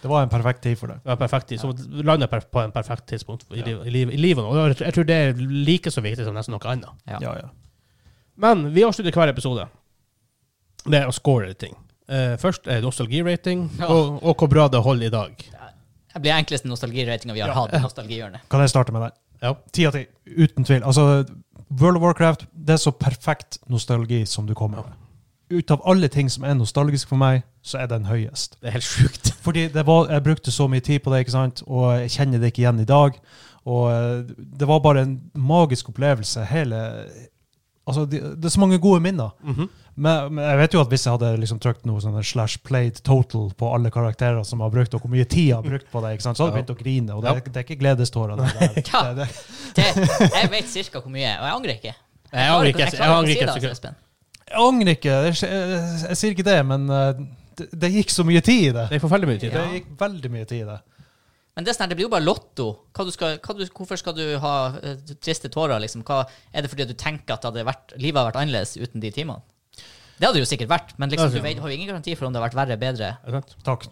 Speaker 3: Det var en perfekt tid for det.
Speaker 1: Det var perfekt tid. Så vi landet per- på en perfekt tidspunkt i, liv, i, liv, i livet nå. Og jeg- jeg tror det er like så viktig som nesten noe annet.
Speaker 2: Ja.
Speaker 3: Ja, ja.
Speaker 1: Men vi avslutter hver episode med å score litt ting. Eh, først er nostalgi-rating,
Speaker 2: Ja.
Speaker 1: og, og hvor bra det holder i dag.
Speaker 2: Det blir enkleste nostalgiratinga vi har hatt. nostalgihjørnet.
Speaker 3: Kan jeg starte med den?
Speaker 1: Ja.
Speaker 3: Ti av ti, uten tvil. Altså, World of Warcraft, det er så perfekt nostalgi som du kommer med. Ut av alle ting som er nostalgisk for meg, så er den høyest.
Speaker 1: Det er helt sjukt.
Speaker 3: Fordi det var, jeg brukte så mye tid på det, ikke sant? og jeg kjenner det ikke igjen i dag. Og eh, det var bare en magisk opplevelse. Hele, altså, det, det er så mange gode minner. Men, men jeg vet jo at hvis jeg hadde liksom trykt noe sånn slash played total på alle karakterer som har brukt, og hvor mye tid jeg har brukt på det, ikke sant? så hadde jeg begynt å grine. Og det, det er ikke gledestårer. Det, der.
Speaker 2: Ja.
Speaker 3: det, det,
Speaker 2: Det, jeg vet cirka hvor mye, og jeg angrer ikke.
Speaker 1: Jeg angrer ikke. Jeg,
Speaker 2: klarer
Speaker 1: angrer
Speaker 2: å si
Speaker 1: ikke et
Speaker 2: det,
Speaker 1: sekund.
Speaker 2: Espen.
Speaker 3: Jeg angrer ikke. Jeg, jeg, jeg sier ikke det, men eh, det, det gikk så mye tid i det.
Speaker 1: Det er forferdelig mye tid.
Speaker 3: Det
Speaker 2: Ja.
Speaker 3: gikk veldig mye tid i det.
Speaker 2: Men det, er sånn her, det blir jo bare lotto. Hva du skal, hva du, hvorfor skal du ha eh, triste tårer? Liksom? Hva, er det fordi at du tenker at det hadde vært, livet hadde vært annerledes uten de timene? Det hadde det jo sikkert vært, men liksom,
Speaker 1: Altså,
Speaker 2: du vet, har jo ingen garanti for om det har vært verre bedre.
Speaker 1: Er det sant?
Speaker 3: Takk.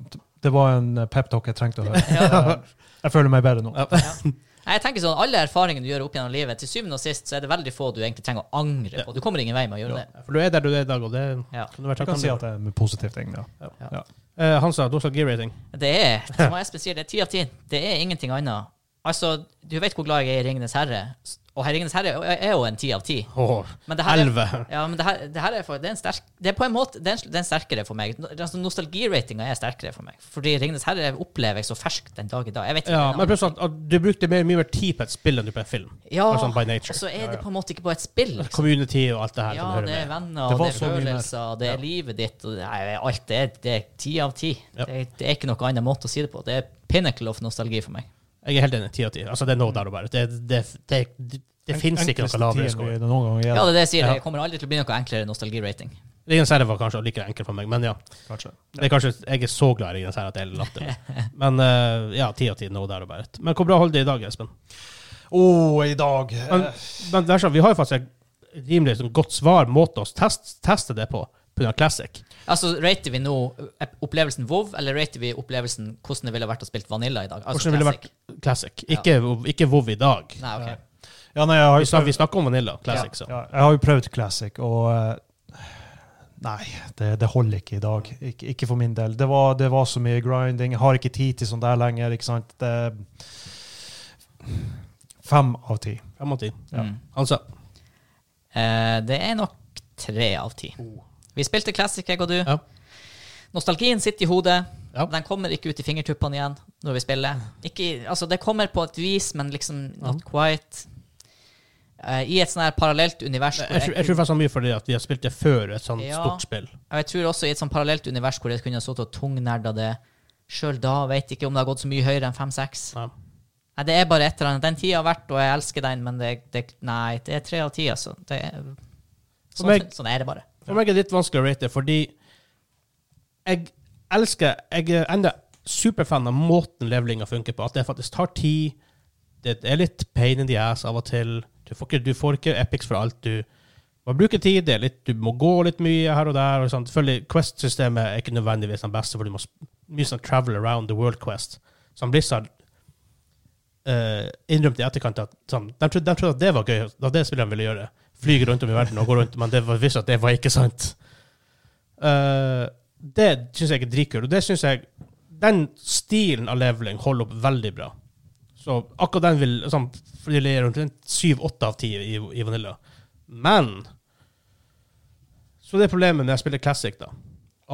Speaker 3: Det var en peptalk jeg trengte å høre.
Speaker 2: Ja.
Speaker 3: Eh, Jeg føler meg bedre nå.
Speaker 1: Ja.
Speaker 2: Nei, Jeg tenker sånn, Alle erfaringene du gjør opp gjennom livet, til syvende og sist så er det veldig få du egentlig trenger å angre på. Du kommer ingen vei med å gjøre det.
Speaker 1: For du er der du er i dag, og det
Speaker 2: Ja.
Speaker 1: kan du være
Speaker 3: Jeg kan si
Speaker 1: takknemlig
Speaker 3: at
Speaker 1: for.
Speaker 3: det er en positiv ting. Ja. Ja.
Speaker 1: Eh, Hansa, nostalgi-rating.
Speaker 2: Det er som Espen sier, det er ti av ti. Det er ingenting annet. Altså, Du vet hvor glad jeg er i Ringenes herre, og her Ringenes herre er jo en ti av ti.
Speaker 1: Åh,
Speaker 2: Men det her er-
Speaker 1: Elleve.
Speaker 2: Ja, men det her, det her er, for, det er en sterk Det er på en måte det er, en, det er en sterkere for meg. No- Altså, Nostalgiratinga er sterkere for meg. Fordi Ringenes herre opplever jeg så ferskt den dag i dag. Jeg vet ikke
Speaker 1: Ja,
Speaker 2: om-
Speaker 1: men plutselig at, at du brukte mer, mye mer tid på et spill enn du på en film.
Speaker 2: ja,
Speaker 1: bare sånn by nature.
Speaker 2: Og så er det på en måte ikke bare et spill. Liksom.
Speaker 1: Community og alt det her.
Speaker 2: Ja,
Speaker 1: som hører
Speaker 2: det
Speaker 1: med.
Speaker 2: er venner,
Speaker 3: Det
Speaker 2: og
Speaker 3: var
Speaker 2: det er
Speaker 3: så mye mer.
Speaker 2: følelser, og det er livet ditt, og det er alt. Det er, det er ti av ti.
Speaker 1: Ja.
Speaker 2: Det, er- det er ikke noe annen måte å si det på. Det er pinnacle of nostalgi for meg.
Speaker 1: Jeg er helt enig. Ti av ti. Altså, det er
Speaker 2: Mm.
Speaker 1: nå der og bare. Det, det, det, det, det fins ikke
Speaker 3: Enkleste
Speaker 1: noe lavere
Speaker 3: tiden
Speaker 1: score.
Speaker 3: vi noen
Speaker 2: Ja,
Speaker 3: gang gir,
Speaker 2: det er det jeg sier.
Speaker 1: Ja.
Speaker 2: Det kommer aldri til å bli noe enklere nostalgirating.
Speaker 1: Ringens herre var kanskje like enkel for meg, men ja.
Speaker 3: kanskje.
Speaker 1: Det er kanskje, jeg er så glad i Ringens herre at det er latterlig. Men eh, ja, ti av ti nå der og bare. Men hvor bra holder det i dag, Espen?
Speaker 3: Å, i dag
Speaker 1: Men,
Speaker 3: eh,
Speaker 1: men det er sånn, vi har jo faktisk en- rimelig sånn godt svar måte å test, teste det på, pga. Classic.
Speaker 2: Altså, Rater vi nå opplevelsen WoW, eller rater vi opplevelsen hvordan det ville vært å spille Vanilla i dag? Altså,
Speaker 1: Hvordan ville det
Speaker 2: Classic.
Speaker 1: vært Classic? Ikke, ikke WoW i dag.
Speaker 2: Nei, ok.
Speaker 3: Ja, nei, jeg har
Speaker 1: Vi
Speaker 3: jo
Speaker 1: snakker, vi
Speaker 3: prøvd,
Speaker 1: snakker om Vanilla Classic, så.
Speaker 3: ja, jeg har jo prøvd Classic, og eh, Nei, det, det holder ikke i dag. Ikke, ikke for min del. Det var, det var så mye grinding. Jeg har ikke tid til sånt der lenger. ikke sant? Det, fem av ti.
Speaker 1: Fem av ti.
Speaker 3: Ja.
Speaker 2: Mm.
Speaker 1: Altså,
Speaker 2: Eh, det er nok tre av ti. Vi spilte Classic, jeg og du.
Speaker 1: Ja.
Speaker 2: Nostalgien sitter i hodet.
Speaker 1: Ja.
Speaker 2: Den kommer ikke ut i fingertuppene igjen når vi spiller. Ikke, i- altså, det kommer på et vis, men liksom not quite. Eh, I et sånn her parallelt univers. hvor
Speaker 1: jeg, tror- jeg tror
Speaker 2: kunne-
Speaker 1: faktisk det er mye fordi at vi har spilt det før, et sånt
Speaker 2: Ja.
Speaker 1: stort spill.
Speaker 2: Og jeg tror også i et sånn parallelt univers hvor jeg kunne ha sittet og tungnerda det. Sjøl da vet jeg ikke om det har gått så mye høyere enn 5-6.
Speaker 1: Ja.
Speaker 2: Nei, det er bare et eller annet. Den tida har vært, og jeg elsker den, men det, det Nei, det er tre av ti, altså. Det er,
Speaker 1: For
Speaker 2: sånn,
Speaker 1: meg-
Speaker 2: sånn er det bare.
Speaker 1: For meg er det litt vanskelig å rate, fordi jeg elsker Jeg er enda superfan av måten levelinga funker på. At det faktisk tar tid. Det er litt pain in the ass av og til. Du får ikke, du får ikke epics for alt. Du man bruker tid. Det er litt, du må gå litt mye her og der. Og sånn. Selvfølgelig, Quest-systemet er ikke nødvendigvis den beste, for du må sp- mye sånn travel around the world quest. Som Blizzard eh, innrømte i etterkant at sånn, de, trodde, de trodde at det var gøy, at det spillerne ville gjøre. Flyge rundt om i verden og gå rundt, men det var visst at det var ikke sant. Eh, det syns jeg er dritkult, og det syns jeg Den stilen av leveling holder opp veldig bra. Så akkurat den vil sånn, fordi det er rundt en syv-åtte av ti i, i Vanilla. Men Så det er problemet når jeg spiller Classic, da.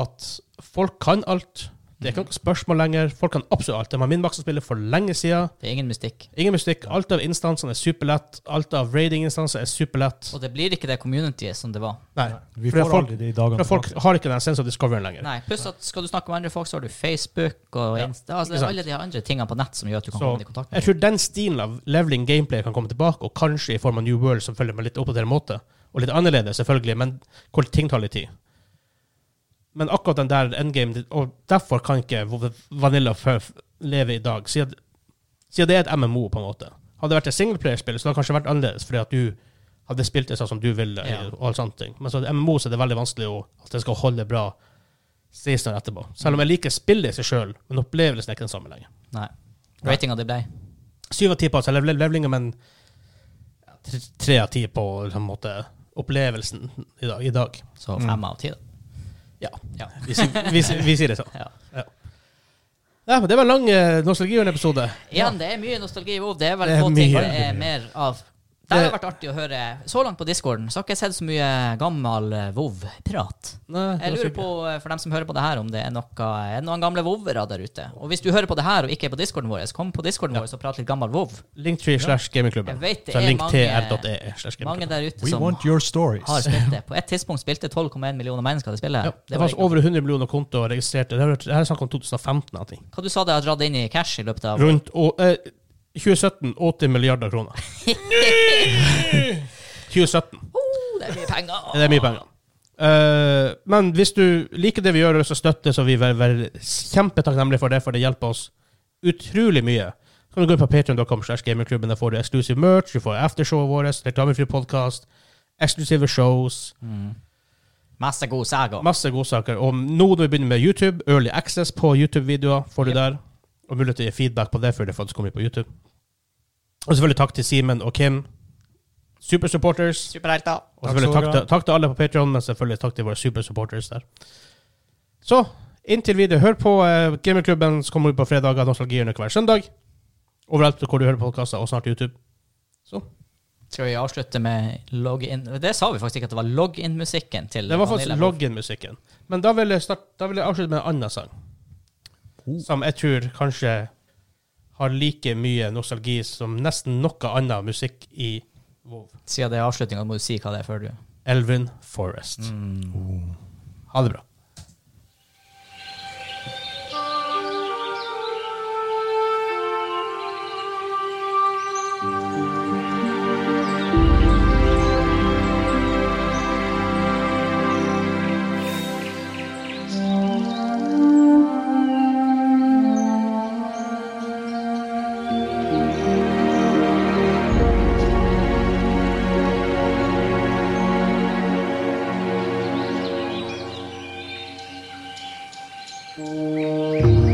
Speaker 1: At folk kan alt. Det er ikke noe spørsmål lenger. Folk kan absolutt alt. De har minmaksa-spillet for lenge siden.
Speaker 2: Det er ingen mystikk.
Speaker 1: Ingen mystikk. Alt av instansene er superlett. Alt av raiding-instanser er superlett.
Speaker 2: Og det blir ikke det communityet som det var.
Speaker 1: Nei.
Speaker 4: Vi
Speaker 1: Fordi
Speaker 4: får
Speaker 1: folk-
Speaker 4: aldri de
Speaker 1: For
Speaker 4: dagene
Speaker 1: folk har ikke den sense of discovery lenger.
Speaker 2: Nei, Pluss at skal du snakke med andre folk, så har du Facebook og
Speaker 1: Ja,
Speaker 2: Insta. Altså, det
Speaker 1: ikke
Speaker 2: er
Speaker 1: sant.
Speaker 2: alle de andre tingene på nett som gjør at du kan
Speaker 1: Så,
Speaker 2: komme i kontakt med
Speaker 1: Jeg tror den stilen av leveling gameplay kan komme tilbake, og kanskje i form av New World, selvfølgelig med litt oppdatert måte. Og litt annerledes, selvfølgelig, men hvor ting tar litt tid. Men akkurat den der endgame Og derfor kan ikke Vanilla Furf leve i dag, siden siden det er et MMO, på en måte. Hadde det vært et singleplayerspill, så hadde det kanskje vært annerledes, fordi at du hadde spilt det sånn som du ville,
Speaker 2: Ja.
Speaker 1: og alt sånne ting. Men så i MMO så er det veldig vanskelig å, at det skal holde bra seasoner etterpå. Selv om jeg liker spillet i seg sjøl, men opplevelsen er ikke den samme lenger.
Speaker 2: Nei. Ratinga det ble.
Speaker 1: Syv av ti på altså, lev- lev- levlinga, men tre- tre av ti på liksom, på en måte, opplevelsen i dag. I dag.
Speaker 2: Så fem av ti, da.
Speaker 1: Ja.
Speaker 2: Ja.
Speaker 1: Vi, sier- vi, sier- vi sier det sånn.
Speaker 2: Ja.
Speaker 1: Ja, men det var en lang eh, nostalgihjørne-episode.
Speaker 2: Igjen, det er mye nostalgi i WoW. Det er vel
Speaker 1: Det er
Speaker 2: få ting
Speaker 1: mye.
Speaker 2: det er mer av. Det har vært artig å høre. Så langt på discorden så har ikke jeg sett så mye gammel eh, WoW-prat.
Speaker 1: Nei, det
Speaker 2: Jeg
Speaker 1: var
Speaker 2: lurer
Speaker 1: sikkert-
Speaker 2: på, eh, for dem som hører på det her, om det er, noe, er det noen gamle WoW-ere der ute. Og hvis du hører på det her og ikke er på discorden vår, så kom på discorden vår og prat litt gammel WoW.
Speaker 1: Linktree slash gamingklubben.
Speaker 2: Jeg vet det
Speaker 1: Så
Speaker 2: er
Speaker 1: linktr.ee e slash
Speaker 2: Mange
Speaker 1: gamingklubben.
Speaker 2: der ute
Speaker 4: We
Speaker 2: som
Speaker 4: want your stories.
Speaker 2: har spilt det. På et tidspunkt spilte 12,1 millioner mennesker det spillet.
Speaker 1: Ja,
Speaker 2: her.
Speaker 1: det
Speaker 2: det
Speaker 1: var
Speaker 2: var
Speaker 1: altså over 100 millioner kontoer registrerte. Det er- Det her er snakk om 2015. eller ting.
Speaker 2: Hva du sa det har dratt inn i cash i løpet av
Speaker 1: Rundt å- eh, 2017 80 milliarder kroner. 2017.
Speaker 2: oh, Det er mye penger!
Speaker 1: Det er mye penger. Eh, men hvis du liker det vi gjør, og så støtter, så vi er kjempetakknemlige for det, for det hjelper oss utrolig mye. Så kan du gå inn på patreon.com slash gamingklubben. Der får du exclusive merch, du får aftershowet vårt, reklamefri podkast, eksklusive shows.
Speaker 2: Masse god saga.
Speaker 1: Masse godsaker. Og nå når vi begynner med YouTube, Early Access på YouTube-videoer får du der. Og mulighet til å gi feedback på det før det faktisk kommer på YouTube. Og selvfølgelig takk til Simen og Kim. Supersupporters.
Speaker 2: Superhelter.
Speaker 1: Og
Speaker 4: Takk
Speaker 1: selvfølgelig
Speaker 4: skal
Speaker 1: takk
Speaker 4: dere
Speaker 1: til, takk til alle på Patreon, men selvfølgelig takk til våre supersupporters der. Så inntil videre, hør på eh, Gamerklubben som kommer ut på fredager, Nostalgihjørnet hver søndag. Overalt hvor du hører podkaster, og snart YouTube. Så
Speaker 2: Skal vi avslutte med login Det sa vi faktisk ikke, at det var login-musikken til
Speaker 1: Det var faktisk
Speaker 2: Vanilla
Speaker 1: login-musikken. Men da vil, jeg start, da vil jeg avslutte med en annen sang. Som jeg tror kanskje har like mye nostalgi som nesten noe annen musikk i WoW.
Speaker 2: Wolf. Siden det er avslutninga, må du si hva det er før du
Speaker 1: Elvin Forest. Ha det bra.
Speaker 5: Thank Thank you.